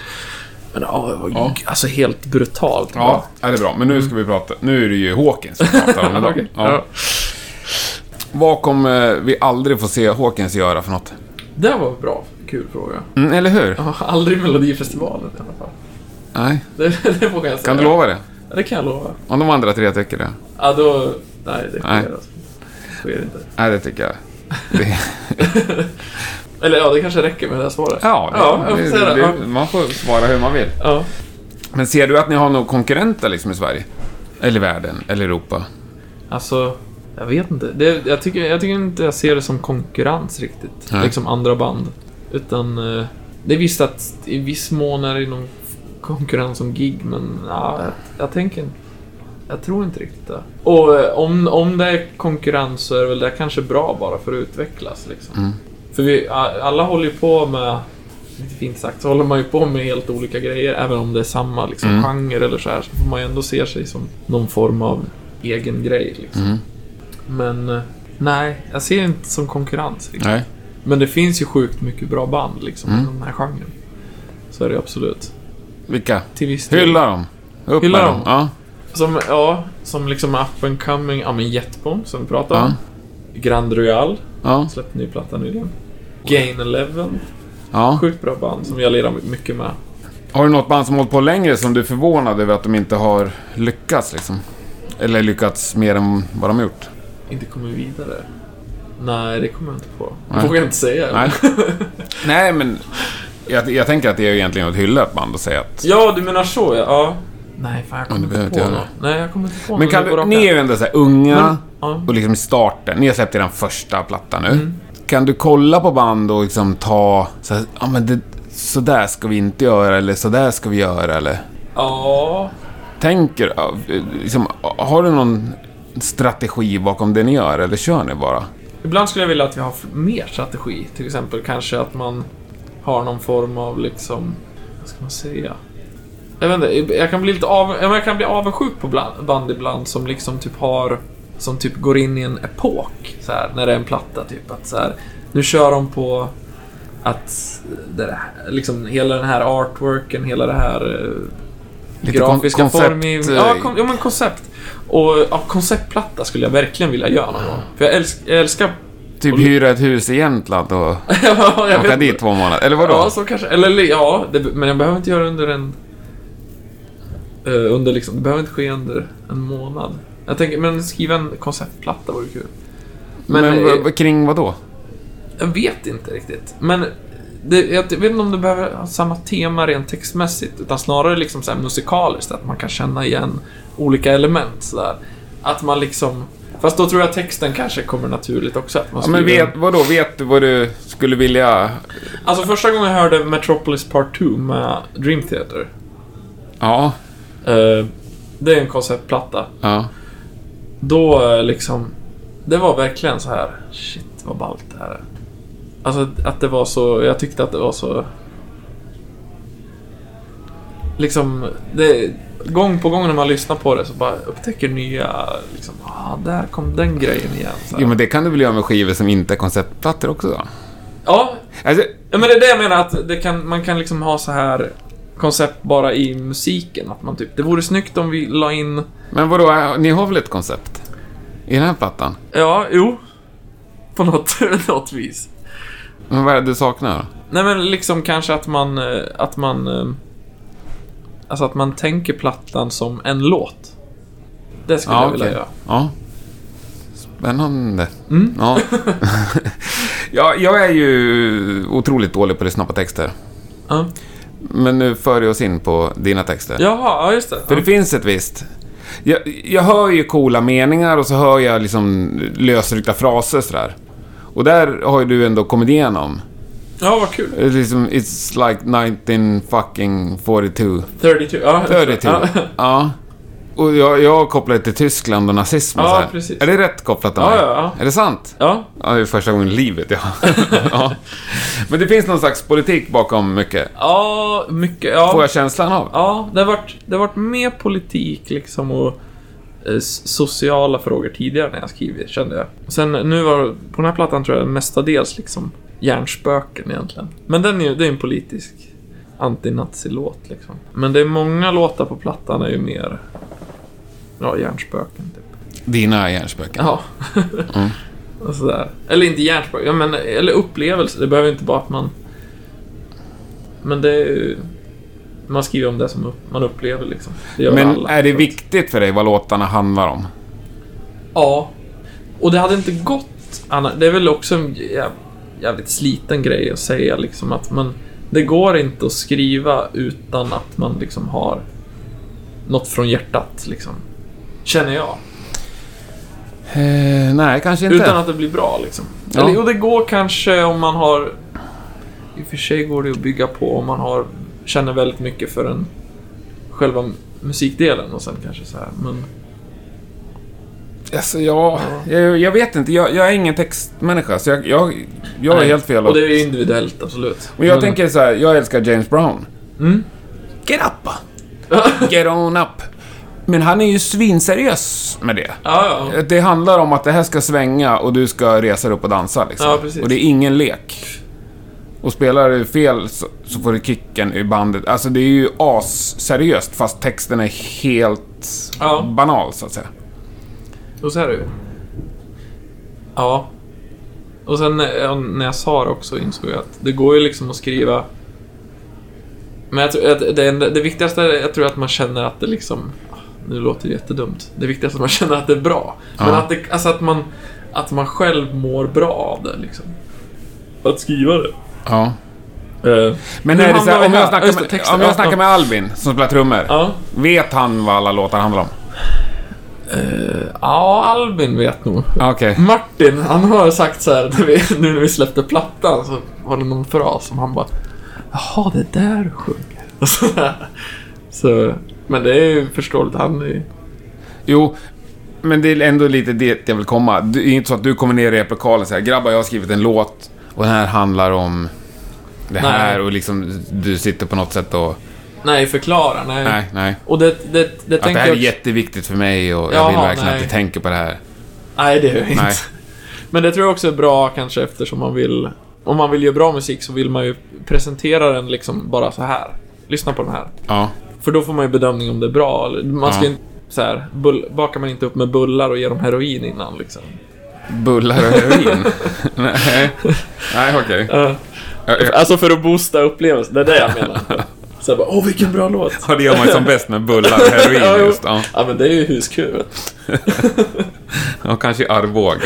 [SPEAKER 1] Men ja, det var ju
[SPEAKER 2] Ja.
[SPEAKER 1] alltså helt brutalt
[SPEAKER 2] Ja, ja, det är bra. Men nu ska vi prata. Nu är det ju Hawkins vi pratar om idag.
[SPEAKER 1] Okej.
[SPEAKER 2] ja.
[SPEAKER 1] Mm. Ja.
[SPEAKER 2] Vad kommer vi aldrig få se Hawkins göra för något?
[SPEAKER 1] Det var en bra, kul fråga.
[SPEAKER 2] Mm, eller hur?
[SPEAKER 1] Ja, aldrig Melodifestivalen i alla fall.
[SPEAKER 2] Nej.
[SPEAKER 1] Det, det vågar jag säga.
[SPEAKER 2] Kan du lova det?
[SPEAKER 1] Ja, det kan jag lova.
[SPEAKER 2] Om de andra tre tycker det?
[SPEAKER 1] Ja, då... Nej, det
[SPEAKER 2] Nej.
[SPEAKER 1] sker alltså. sker inte.
[SPEAKER 2] Nej, det tycker jag. Det,
[SPEAKER 1] Eller ja, det kanske räcker med det här svaret.
[SPEAKER 2] ja, det,
[SPEAKER 1] ja jag får säga det.
[SPEAKER 2] det,
[SPEAKER 1] Ja.
[SPEAKER 2] det, man får svara hur man vill.
[SPEAKER 1] Ja.
[SPEAKER 2] Men ser du att ni har några konkurrenter liksom i Sverige? Eller världen? Eller Europa?
[SPEAKER 1] Alltså, jag vet inte. Det, jag, tycker, jag tycker inte jag ser det som konkurrens riktigt.
[SPEAKER 2] Nej.
[SPEAKER 1] Liksom andra band. Utan eh, det är visst att i viss mån är det någon konkurrens om gig, men ja, jag, jag tänker inte- jag tror inte riktigt det. Och eh, om, om det är konkurrens så är det väl det kanske bra bara för att utvecklas. Liksom. För vi, a- alla håller ju på med, lite fint sagt, så håller man ju på med helt olika grejer. Även om det är samma liksom,
[SPEAKER 2] Mm.
[SPEAKER 1] genre eller så här, så får man ju ändå se sig som någon form av egen grej. Liksom.
[SPEAKER 2] Mm.
[SPEAKER 1] Men eh, nej, jag ser det inte som konkurrens. Liksom.
[SPEAKER 2] Nej. Mm.
[SPEAKER 1] Men det finns ju sjukt mycket bra band liksom, i den här genren. Så är det absolut.
[SPEAKER 2] Vilka?
[SPEAKER 1] Till viss del.
[SPEAKER 2] Hylla dem. Upp
[SPEAKER 1] Hylla
[SPEAKER 2] med
[SPEAKER 1] dem.
[SPEAKER 2] Ja.
[SPEAKER 1] Som, ja, som liksom up and coming, ja men Jetbomb som vi pratade om.
[SPEAKER 2] Ja.
[SPEAKER 1] Grand Royal,
[SPEAKER 2] Ja.
[SPEAKER 1] släppte ny platta nyligen. Gain Eleven,
[SPEAKER 2] ja.
[SPEAKER 1] sjukt bra band som jag lirar mycket med.
[SPEAKER 2] Har du något band som hållit på längre som du är förvånad över att de inte har lyckats liksom? Eller lyckats mer än vad de gjort?
[SPEAKER 1] Inte kommit vidare. Nej, det kommer jag inte på. Det
[SPEAKER 2] Nej.
[SPEAKER 1] vågar jag inte säga.
[SPEAKER 2] Nej. Nej, men jag, jag tänker att det är ju egentligen att hylla ett band och säga att...
[SPEAKER 1] Ja, du menar så ja. ja. Nej, fan jag
[SPEAKER 2] det
[SPEAKER 1] kommer
[SPEAKER 2] behöver
[SPEAKER 1] inte på
[SPEAKER 2] inte jag
[SPEAKER 1] något. Nej, jag kommer inte på
[SPEAKER 2] Men
[SPEAKER 1] något
[SPEAKER 2] kan
[SPEAKER 1] nu på
[SPEAKER 2] du,
[SPEAKER 1] rak
[SPEAKER 2] ni
[SPEAKER 1] arm.
[SPEAKER 2] är ju ändå så här unga
[SPEAKER 1] ja.
[SPEAKER 2] och liksom i starten. Ni har släppt er första platta nu. Kan du kolla på band och liksom ta... Så här, ja, men det, så där ska vi inte göra eller så där ska vi göra eller...
[SPEAKER 1] Ja,
[SPEAKER 2] Tänker... ja, Liksom, har du någon strategi bakom det ni gör eller kör ni bara?
[SPEAKER 1] Ibland skulle jag vilja att vi har mer strategi. Till exempel kanske att man har någon form av liksom... Vad ska man säga? Jag vet inte, jag kan bli lite av, ja, men jag kan bli avundsjuk på bland, band ibland som liksom typ har... Som typ går in i en epok. Så här, när det är en platta typ att så här, Nu kör de på att det där, liksom hela den här artworken, hela det här eh,
[SPEAKER 2] Lite kon-
[SPEAKER 1] grafiska
[SPEAKER 2] koncept,
[SPEAKER 1] formgivning.
[SPEAKER 2] eh,
[SPEAKER 1] Ja, kon- ja, men koncept. Och ja, konceptplatta skulle jag verkligen vilja göra någon gång. För jag, älsk, jag älskar
[SPEAKER 2] Typ hyra ett hus i Jämtland och
[SPEAKER 1] ja, jag
[SPEAKER 2] åka
[SPEAKER 1] vet.
[SPEAKER 2] dit två månader. Eller vadå?
[SPEAKER 1] Ja, så kanske. Eller eller, ja, det, men jag behöver inte göra under en... eh, under liksom, det behöver inte ske under en månad. Jag tänker, men skriva en konceptplatta vore kul.
[SPEAKER 2] men
[SPEAKER 1] eh,
[SPEAKER 2] v- v- kring vad då?
[SPEAKER 1] jag vet inte riktigt. Men det, jag vet inte om du behöver ha samma tema rent textmässigt, utan snarare liksom så här musikaliskt, att man kan känna igen olika element sådär. Att man liksom... Fast då tror jag texten kanske kommer naturligt också. Att man
[SPEAKER 2] Ja, men
[SPEAKER 1] skriver-
[SPEAKER 2] vet, vadå? Vet du vad du skulle vilja...
[SPEAKER 1] Alltså första gången jag hörde Metropolis Part 2 med Dream Theater
[SPEAKER 2] Ja.
[SPEAKER 1] Eh, det är en konceptplatta.
[SPEAKER 2] Ja.
[SPEAKER 1] Då eh, liksom... Det var verkligen så här. Shit, vad ballt det här är. Alltså att det var så... Jag tyckte att det var så... Liksom... Det, gång på gång när man lyssnar på det så bara upptäcker nya... Liksom, ah, där kom den grejen igen. Så här.
[SPEAKER 2] Jo, men det kan du väl göra med skivor som inte är konceptplattor också då?
[SPEAKER 1] Ja,
[SPEAKER 2] Alltså,
[SPEAKER 1] ja, men det är det jag menar. Att det kan, man kan liksom ha så här koncept bara i musiken. Att man typ... Det vore snyggt om vi la in...
[SPEAKER 2] men vadå? eh, Ni har väl ett koncept? I den här plattan?
[SPEAKER 1] Ja, jo. På något, något vis.
[SPEAKER 2] Men vad är det du saknar då?
[SPEAKER 1] Nej men liksom kanske att man, eh, att man... eh, Alltså att man tänker plattan som en låt. Det skulle jag vilja
[SPEAKER 2] okej.
[SPEAKER 1] göra. Mm.
[SPEAKER 2] Ja. Spännande. Ja. ja, jag är ju otroligt dålig på att lyssna på texter.
[SPEAKER 1] Ja.
[SPEAKER 2] Men nu för du oss in på dina texter.
[SPEAKER 1] Jaha, ja just det.
[SPEAKER 2] För det finns ett visst... Jag, jag hör ju coola meningar och så hör jag liksom lösryckta fraser sådär. Och där har ju du ändå kommit igenom.
[SPEAKER 1] Ja, vad kul.
[SPEAKER 2] It's liksom, it's like 19 fucking 42.
[SPEAKER 1] 32. Ja,
[SPEAKER 2] 32.
[SPEAKER 1] Ja.
[SPEAKER 2] Ja. Och jag, jag kopplade det till Tyskland och nazism och
[SPEAKER 1] Ja,
[SPEAKER 2] så här.
[SPEAKER 1] precis.
[SPEAKER 2] Är det rätt kopplat av
[SPEAKER 1] Ja,
[SPEAKER 2] mig?
[SPEAKER 1] ja, ja.
[SPEAKER 2] Är det sant?
[SPEAKER 1] Ja,
[SPEAKER 2] Ja, det är första gången i livet, ja. ja. Men det finns någon slags politik bakom mycket.
[SPEAKER 1] ja mycket. Ja.
[SPEAKER 2] Får jag känslan av.
[SPEAKER 1] Ja, det har varit, det har varit mer politik liksom och eh, s- sociala frågor tidigare när jag skrivit, kände jag. Sen nu var på den här plattan tror jag mestadels liksom hjärnspöken egentligen. Men den är ju, det är en politisk antinazi-låt liksom. Men det är många låtar på plattan är ju mer, ja, hjärnspöken typ.
[SPEAKER 2] Dina hjärnspöken.
[SPEAKER 1] Ja.
[SPEAKER 2] Mm.
[SPEAKER 1] och sådär. Eller inte hjärnspöken, ja, men, eller upplevelse. Det behöver inte vara att man... Men det är ju... Man skriver om det som upp- man upplever liksom. Det gör
[SPEAKER 2] Men
[SPEAKER 1] alla.
[SPEAKER 2] är det viktigt för dig vad låtarna handlar om?
[SPEAKER 1] Ja. Och det hade inte gått annars. Det är väl också en jä- jävligt sliten grej att säga liksom att man... Det går inte att skriva utan att man liksom har något från hjärtat liksom. Känner jag.
[SPEAKER 2] Eh, nej, kanske inte.
[SPEAKER 1] Utan att det blir bra liksom.
[SPEAKER 2] Ja.
[SPEAKER 1] Eller, och det går kanske om man har... I och för sig går det att bygga på om man har, känner väldigt mycket för den själva musikdelen och sen kanske så här. Men
[SPEAKER 2] Alltså, ja, jag, jag vet inte. Jag, jag är ingen textmänniska, så jag, jag, jag är
[SPEAKER 1] Nej.
[SPEAKER 2] helt fel.
[SPEAKER 1] Och det är ju individuellt, absolut.
[SPEAKER 2] Men jag
[SPEAKER 1] Men-
[SPEAKER 2] tänker så här, jag älskar James Brown.
[SPEAKER 1] Mm.
[SPEAKER 2] Get up! Get on up! Men han är ju svinseriös med det.
[SPEAKER 1] Ja, ja.
[SPEAKER 2] Det handlar om att det här ska svänga och du ska resa dig upp och dansa. Liksom.
[SPEAKER 1] Ja, precis.
[SPEAKER 2] Och det är ingen lek. Och spelar du fel så, så får du kicken i bandet. Alltså det är ju asseriöst fast texten är helt
[SPEAKER 1] Ja.
[SPEAKER 2] banal så att säga.
[SPEAKER 1] Och så är det ju. Ja. Och sen eh, när jag sa det också insåg jag att det går ju liksom att skriva... Men jag tror att det, enda, det viktigaste, är- jag tror att man känner att det liksom... Nu låter det jättedumt. Det viktigaste är att man känner att det är bra. Men att, det, alltså att, man, att man själv mår bra av det liksom. Att skriva det.
[SPEAKER 2] Ja.
[SPEAKER 1] Eh,
[SPEAKER 2] Men
[SPEAKER 1] nu
[SPEAKER 2] är det så
[SPEAKER 1] hamnar vi
[SPEAKER 2] här, om, jag
[SPEAKER 1] här.
[SPEAKER 2] snackar
[SPEAKER 1] Just det,
[SPEAKER 2] med,
[SPEAKER 1] texten.
[SPEAKER 2] om jag
[SPEAKER 1] Ja,
[SPEAKER 2] snackar
[SPEAKER 1] ja.
[SPEAKER 2] med Albin som spelar trummor.
[SPEAKER 1] Ja.
[SPEAKER 2] Vet han vad alla låtar handlar om?
[SPEAKER 1] ja, Albin vet nog.
[SPEAKER 2] Okej.
[SPEAKER 1] Martin, han har sagt så här, när vi, nu när vi släppte plattan så var det någon fras som han bara Jaha, det där du sjunger. Och så här. så, men det är ju förståeligt, han är ju-
[SPEAKER 2] Jo, men det är ändå lite det jag vill komma. Det är inte så att du kommer ner i replokalen och säger “Grabbar, jag har skrivit en låt och den här handlar om det här”
[SPEAKER 1] Nej.
[SPEAKER 2] och liksom du sitter på något sätt och...
[SPEAKER 1] Nej, förklara, nej.
[SPEAKER 2] Nej, nej.
[SPEAKER 1] Och det, det, det
[SPEAKER 2] Att det
[SPEAKER 1] tänker
[SPEAKER 2] här är
[SPEAKER 1] jag...
[SPEAKER 2] jätteviktigt för mig och jag
[SPEAKER 1] Jaha,
[SPEAKER 2] vill verkligen
[SPEAKER 1] nej.
[SPEAKER 2] att du tänker på det här.
[SPEAKER 1] Nej, det är ju inte.
[SPEAKER 2] Nej.
[SPEAKER 1] Men det tror jag också är bra kanske eftersom man vill... Om man vill göra bra musik så vill man ju presentera den liksom bara så här. Lyssna på den här.
[SPEAKER 2] Ja.
[SPEAKER 1] För då får man ju bedömning om det är bra. eller- Man ska
[SPEAKER 2] Ja.
[SPEAKER 1] inte... Så här, bull, bakar man inte upp med bullar och ger dem heroin innan liksom.
[SPEAKER 2] Bullar och heroin? nej, nej okej.
[SPEAKER 1] Ja. Alltså för att boosta upplevelsen, det är det jag menar. Så jag bara, åh vilken bra låt.
[SPEAKER 2] Ja, det gör man ju som bäst med bullar och
[SPEAKER 1] Ja,
[SPEAKER 2] heroin
[SPEAKER 1] jo.
[SPEAKER 2] just. Ja,
[SPEAKER 1] Ja men det är ju huskuvet.
[SPEAKER 2] ja kanske i Arboga.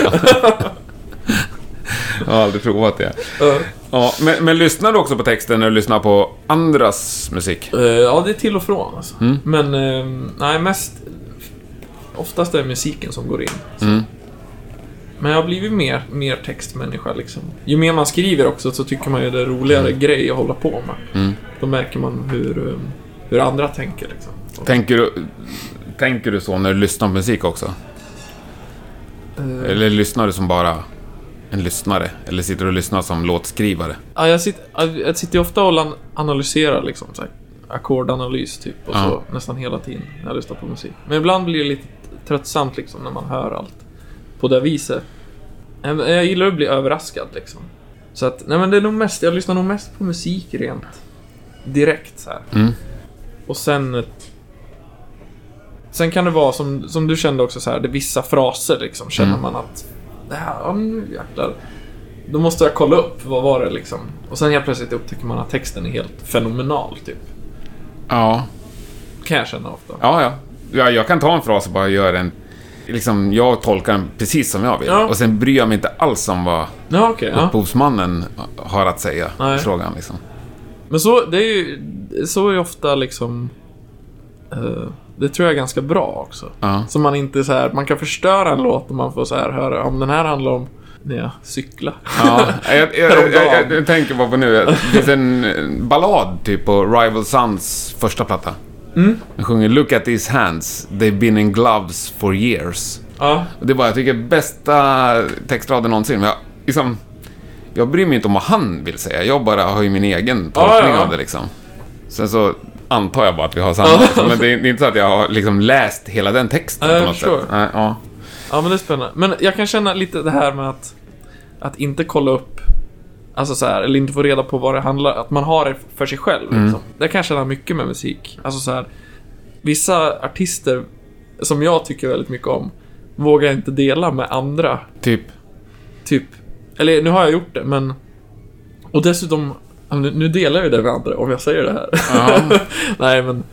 [SPEAKER 2] jag har aldrig provat det.
[SPEAKER 1] Ja.
[SPEAKER 2] Ja, men, men lyssnar du också på texten när du lyssnar på andras musik?
[SPEAKER 1] Eh, ja, det är till och från alltså.
[SPEAKER 2] Mm.
[SPEAKER 1] Men, eh, nej mest... Oftast är det musiken som går in. så.
[SPEAKER 2] Mm.
[SPEAKER 1] Men jag har blivit mer, mer textmänniska liksom. Ju mer man skriver också så tycker man ju det är roligare
[SPEAKER 2] Mm.
[SPEAKER 1] grej att hålla på med. Då märker man hur, eh, hur andra tänker liksom.
[SPEAKER 2] Tänker du, tänker du så när du lyssnar på musik också?
[SPEAKER 1] Eh.
[SPEAKER 2] Eller lyssnar du som bara en lyssnare? Eller sitter du och lyssnar som låtskrivare?
[SPEAKER 1] Ja, jag, sit, jag sitter ju ofta och lan- analyserar liksom, så här, ackordanalys typ och
[SPEAKER 2] Ja.
[SPEAKER 1] så nästan hela tiden när jag lyssnar på musik. Men ibland blir det lite tröttsamt liksom när man hör allt på det viset. Eh, men Jag gillar att bli överraskad liksom. Så att, nej men det är nog mest, jag lyssnar nog mest på musik rent direkt så här. Och sen... Sen kan det vara som, som du kände också så här, det är vissa fraser liksom, känner man att det här, ja nu jäklar. Då måste jag kolla upp, vad var det liksom? Och sen helt plötsligt upptäcker man att texten är helt fenomenal, typ.
[SPEAKER 2] Ja.
[SPEAKER 1] Kan jag känna ofta.
[SPEAKER 2] Ja, ja. ja jag kan ta en fras och bara göra en... Liksom, jag tolkar den precis som jag vill.
[SPEAKER 1] Ja.
[SPEAKER 2] Och sen bryr jag mig inte alls om vad
[SPEAKER 1] Ja, okej. ja.
[SPEAKER 2] upphovsmannen har att säga
[SPEAKER 1] Nej.
[SPEAKER 2] i frågan. Liksom.
[SPEAKER 1] Men så, det är ju, så är ju ofta liksom... eh, det tror jag är ganska bra också.
[SPEAKER 2] Ja.
[SPEAKER 1] Så man inte så här, man kan förstöra en låt om man får så här höra, om den här handlar om när jag cyklar.
[SPEAKER 2] Ja, jag, jag, jag, jag,
[SPEAKER 1] Häromdagen.
[SPEAKER 2] jag tänker bara på nu, det finns en eh, ballad typ på Rival Sons första platta.
[SPEAKER 1] Mm.
[SPEAKER 2] Han sjunger “Look at these hands, they've been in gloves for years”.
[SPEAKER 1] Ja.
[SPEAKER 2] Och det var, jag tycker, bästa textraden någonsin. Men Jag, liksom, jag bryr mig inte om vad han vill säga. Jag bara har ju min egen tolkning
[SPEAKER 1] Ja, ja, ja.
[SPEAKER 2] av det liksom. Sen så antar jag bara att vi har samma. men det är, det är inte så att jag har liksom läst hela den texten
[SPEAKER 1] Nej,
[SPEAKER 2] på
[SPEAKER 1] jag
[SPEAKER 2] något
[SPEAKER 1] förstår.
[SPEAKER 2] sätt. Nej, ja.
[SPEAKER 1] Ja, men det är spännande. Men jag kan känna lite det här med att, att inte kolla upp, alltså så här, eller inte få reda på vad det handlar att man har det för sig själv. Liksom. Det kan jag känna mycket med musik. Alltså så här, vissa artister som jag tycker väldigt mycket om, vågar jag inte dela med andra.
[SPEAKER 2] Typ.
[SPEAKER 1] Typ, eller nu har jag gjort det, men... Och dessutom, ja, nu nu delar jag ju det med andra om jag säger det här. Nej, men...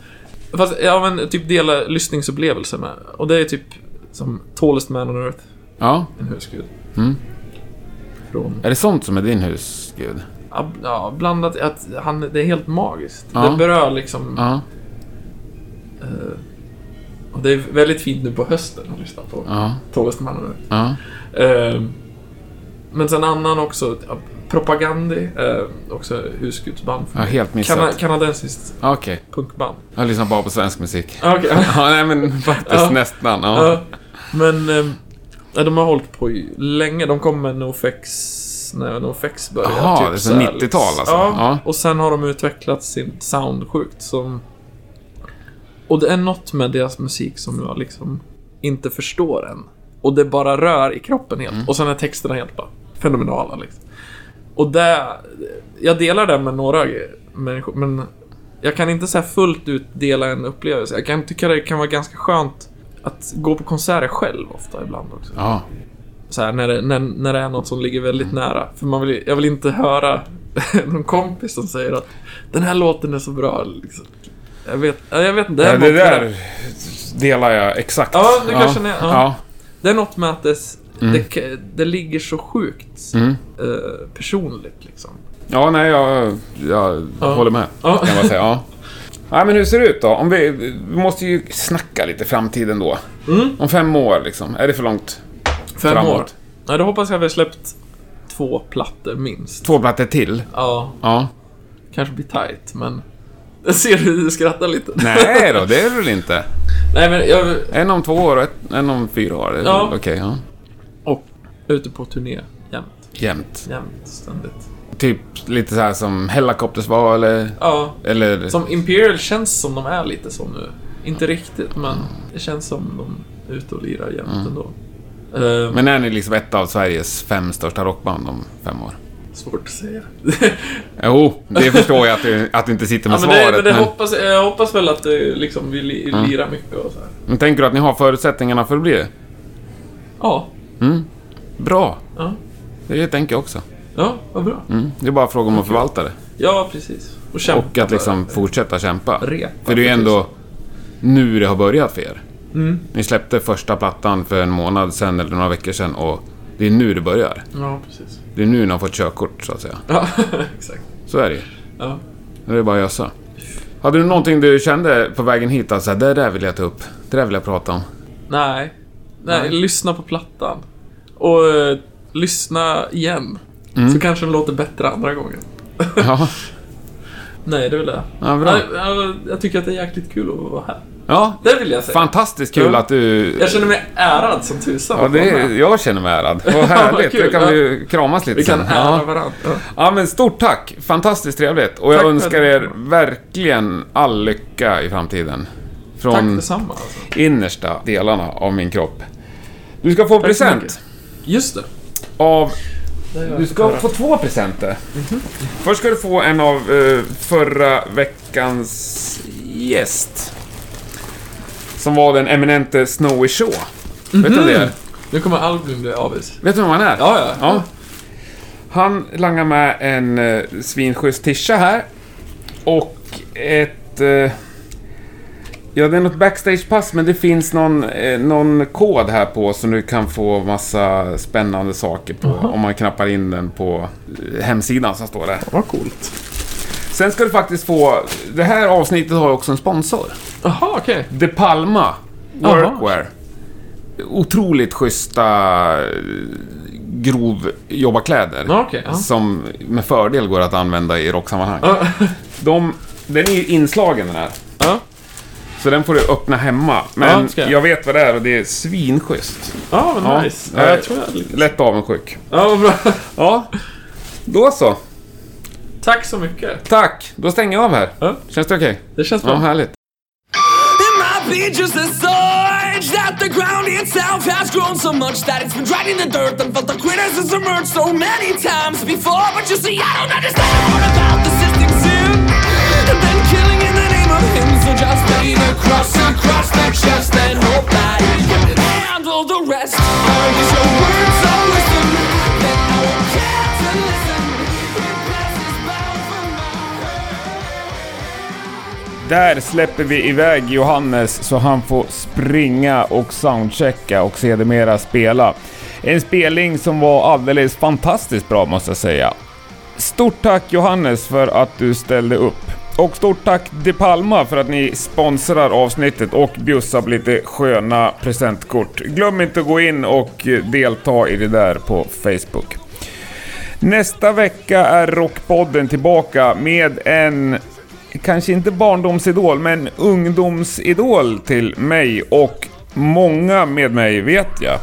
[SPEAKER 1] Fast, ja men typ dela lyssningsupplevelser med. Och det är typ som Tallest Man on Earth.
[SPEAKER 2] Ja.
[SPEAKER 1] En husgud. Från...
[SPEAKER 2] Är det sånt som är din husgud?
[SPEAKER 1] ja, Ja, blandat att han, det är helt magiskt.
[SPEAKER 2] Ja.
[SPEAKER 1] Det berör liksom...
[SPEAKER 2] Ja.
[SPEAKER 1] Och det är väldigt fint nu på hösten att lyssna på
[SPEAKER 2] Ja.
[SPEAKER 1] Tallest Man on Earth.
[SPEAKER 2] Ja.
[SPEAKER 1] Ehm, men sen annan också, ja, Propagandi, eh, också husgudsband.
[SPEAKER 2] Jag har helt missat.
[SPEAKER 1] Kana- kanadensiskt
[SPEAKER 2] Ja, Okej.
[SPEAKER 1] punkband.
[SPEAKER 2] Jag lyssnar bara på svensk musik.
[SPEAKER 1] Ah, okej.
[SPEAKER 2] Ja, nej men faktiskt
[SPEAKER 1] Ja.
[SPEAKER 2] nästan. Ja.
[SPEAKER 1] Ja, men ehm, ja, de har hållit på ju länge. De kom med NoFX när NoFX började. typ
[SPEAKER 2] Jaha, det är så
[SPEAKER 1] så här, liksom.
[SPEAKER 2] 90-tal alltså.
[SPEAKER 1] Ja,
[SPEAKER 2] Ja.
[SPEAKER 1] och sen har de utvecklat sin sound sjukt som... Och det är något med deras musik som jag liksom inte förstår än. Och det bara rör i kroppen helt.
[SPEAKER 2] Mm.
[SPEAKER 1] Och sen är texterna helt bara fenomenala liksom. Och det... Jag delar det med några människor, men jag kan inte så här fullt ut dela en upplevelse. Jag kan tycka det kan vara ganska skönt att gå på konserter själv ofta ibland också.
[SPEAKER 2] ja.
[SPEAKER 1] Så här, när, det, när, när det är något som ligger väldigt nära. För man vill, jag vill inte höra någon kompis som säger att den här låten är så bra. Liksom. Jag vet, ja, jag vet inte.
[SPEAKER 4] Ja,
[SPEAKER 1] är
[SPEAKER 4] det
[SPEAKER 1] något med
[SPEAKER 4] där delar jag exakt.
[SPEAKER 1] Ja, det kanske ni- ja.
[SPEAKER 2] ja.
[SPEAKER 1] Det är något med att det, s- det, k- det ligger så sjukt eh, personligt liksom.
[SPEAKER 2] Ja, nej, jag, jag håller med.
[SPEAKER 1] Ja.
[SPEAKER 2] Kan man säga. Ja. Ja, men hur ser det ut då? Om vi, vi måste ju snacka lite framtiden då.
[SPEAKER 1] Mm.
[SPEAKER 2] Om fem år, liksom. Är det för långt?
[SPEAKER 1] Fem
[SPEAKER 2] Framåt.
[SPEAKER 1] år. Nej, då hoppas jag vi har släppt två plattor minst.
[SPEAKER 2] Två plattor till?
[SPEAKER 1] Ja,
[SPEAKER 2] Ja.
[SPEAKER 1] kanske blir tight, men... Jag ser hur du skrattar lite.
[SPEAKER 2] Nej då, det är det väl inte?
[SPEAKER 1] Nej, men jag...
[SPEAKER 2] En om två år och ett, en om fyra år.
[SPEAKER 1] Ja.
[SPEAKER 2] Ja. Okej, ja.
[SPEAKER 1] Och ute på turné jämt,
[SPEAKER 2] Jämt.
[SPEAKER 1] jämt, ständigt.
[SPEAKER 2] Typ lite så här som Hellacopters var, eller...
[SPEAKER 1] Ja,
[SPEAKER 2] Eller...
[SPEAKER 1] som Imperial känns som de är lite som nu. Inte riktigt, men det känns som de är ute och lirar jämt ändå. Eh,
[SPEAKER 2] Mm. Men är ni liksom ett av Sveriges fem största rockband om fem år?
[SPEAKER 1] svårt att säga.
[SPEAKER 2] Jo, det förstår jag att du, att du inte sitter med
[SPEAKER 1] ja, men
[SPEAKER 2] svaret.
[SPEAKER 1] det, men det
[SPEAKER 2] men- Mm.
[SPEAKER 1] hoppas, jag hoppas väl att det, liksom, vi li, lirar mycket och så här.
[SPEAKER 2] men tänker du att ni har förutsättningarna för att bli det?
[SPEAKER 1] Ja,
[SPEAKER 2] Bra!
[SPEAKER 1] ja,
[SPEAKER 2] Det tänker jag också.
[SPEAKER 1] ja, vad bra.
[SPEAKER 2] Mm. Det är bara fråga om att förvalta det.
[SPEAKER 1] Ja, precis. Och kämpa.
[SPEAKER 2] Och att liksom fortsätta kämpa.
[SPEAKER 1] Repa,
[SPEAKER 2] för det är ju
[SPEAKER 1] precis.
[SPEAKER 2] ändå nu det har börjat för er.
[SPEAKER 1] Mm.
[SPEAKER 2] Ni släppte första plattan för en månad sedan eller några veckor sedan och det är nu det börjar.
[SPEAKER 1] Ja, precis.
[SPEAKER 2] Det är nu ni har fått körkort så att säga.
[SPEAKER 1] Ja, exakt.
[SPEAKER 2] Så är det ju.
[SPEAKER 1] Ja.
[SPEAKER 2] Nu är det bara att gösa. Hade du någonting du kände på vägen hit att alltså, det där vill jag ta upp, det där vill jag prata om?
[SPEAKER 1] Nej. Nej, lyssna på plattan. Och eh, lyssna igen.
[SPEAKER 2] Mm.
[SPEAKER 1] Så kanske den låter bättre andra gången.
[SPEAKER 2] Ja,
[SPEAKER 1] Nej, det är väl det.
[SPEAKER 2] Ja, bra.
[SPEAKER 1] Nej, jag, jag tycker att det är jäkligt kul att vara här.
[SPEAKER 2] ja
[SPEAKER 1] Det vill jag säga.
[SPEAKER 2] fantastiskt kul
[SPEAKER 1] Ja.
[SPEAKER 2] att du...
[SPEAKER 1] Jag känner mig ärad som tusan.
[SPEAKER 2] Ja,
[SPEAKER 1] att
[SPEAKER 2] det
[SPEAKER 1] vara
[SPEAKER 2] är,
[SPEAKER 1] med.
[SPEAKER 2] jag känner mig ärad. Vad härligt,
[SPEAKER 1] kul,
[SPEAKER 2] då kan
[SPEAKER 1] ja.
[SPEAKER 2] vi ju kramas lite
[SPEAKER 1] Vi kan
[SPEAKER 2] sen.
[SPEAKER 1] ära varandra. Ja.
[SPEAKER 2] Ja men stort tack! Fantastiskt trevligt och jag
[SPEAKER 1] Tack för
[SPEAKER 2] önskar
[SPEAKER 1] det.
[SPEAKER 2] er verkligen all lycka i framtiden.
[SPEAKER 1] Tack
[SPEAKER 2] Från
[SPEAKER 1] detsamma. Alltså.
[SPEAKER 2] innersta delarna av min kropp. Du ska få en
[SPEAKER 1] så
[SPEAKER 2] present
[SPEAKER 1] mycket. Just det.
[SPEAKER 2] av...
[SPEAKER 1] Det Mhm. har jag
[SPEAKER 2] Du
[SPEAKER 1] fått
[SPEAKER 2] ska
[SPEAKER 1] höra.
[SPEAKER 2] få två presenter. Först ska du få en av eh, förra veckans gäst. Som var den eminente Snowy Shaw. Vet du vem det är?
[SPEAKER 1] Nu kommer Albin bli avis.
[SPEAKER 2] Vet du vem han är?
[SPEAKER 1] Mhm. Ja, ja.
[SPEAKER 2] Han langar med en eh, svinschysst tisha här. Och ett... Eh, ja, det är något backstagepass men det finns någon, eh, någon kod här på som du kan få massa spännande saker på. Om man knappar in den på eh, hemsidan som står där.
[SPEAKER 1] Vad coolt.
[SPEAKER 2] Sen ska du faktiskt få... Det här avsnittet har ju också en sponsor.
[SPEAKER 1] Jaha, okej.
[SPEAKER 2] De Palma
[SPEAKER 1] Jaha.
[SPEAKER 2] Workwear. Otroligt schyssta eh, grovjobbarkläder.
[SPEAKER 1] Ja, okej, ja.
[SPEAKER 2] Som med fördel går att använda i rocksammanhang.
[SPEAKER 1] Ja.
[SPEAKER 2] De, den är ju inslagen den här.
[SPEAKER 1] Ja.
[SPEAKER 2] Så den får du öppna hemma. Men
[SPEAKER 1] Ja, ska jag.
[SPEAKER 2] jag vet vad det är och det är svinschysst.
[SPEAKER 1] Ja, men nice. Ja,
[SPEAKER 2] eh,
[SPEAKER 1] jag tror jag...
[SPEAKER 2] Lätt avundsjuk.
[SPEAKER 1] Ja, vad bra.
[SPEAKER 2] Ja, då så.
[SPEAKER 1] Tack så mycket.
[SPEAKER 2] Tack, då stänger jag av här.
[SPEAKER 1] Ja.
[SPEAKER 2] Känns det okej?
[SPEAKER 1] Det känns
[SPEAKER 2] Ja,
[SPEAKER 1] bra.
[SPEAKER 2] härligt.
[SPEAKER 3] It might be just a surge that the ground itself has grown so much that it's been dragged in the dirt and felt the criticism emerge so many times before. But you see, I don't understand a word about the cystic sin. And then killing in the name of him, so just lay the cross across the chest and hope that he can handle the rest. I use your words of wisdom that I will care to listen. Repress is bound for
[SPEAKER 2] Där släpper vi iväg Johannes så han får springa och soundchecka och sedermera spela. En spelning som var alldeles fantastiskt bra måste jag säga. Stort tack Johannes för att du ställde upp. Och stort tack De Palma för att ni sponsrar avsnittet och bjussar på lite sköna presentkort. Glöm inte att gå in och delta i det där på Facebook. Nästa vecka är Rockpodden tillbaka med en, kanske inte barndomsidol, men ungdomsidol till mig och många med mig vet jag.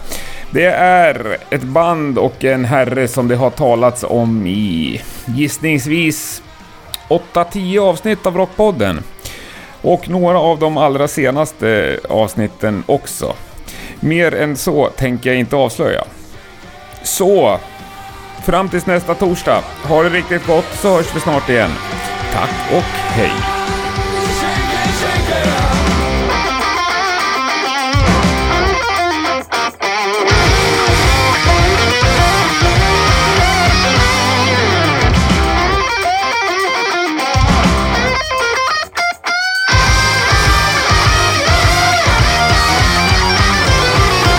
[SPEAKER 2] Det är ett band och en herre som det har talats om i gissningsvis 8-10 avsnitt av Rockpodden. Och några av de allra senaste avsnitten också. Mer än så tänker jag inte avslöja. Så, Fram tills nästa torsdag. Ha det riktigt gott så hörs vi snart igen. Tack och hej!
[SPEAKER 3] Shake it, shake it up.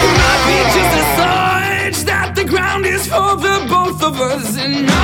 [SPEAKER 3] It might be just a sign that the ground is for the both of us, and I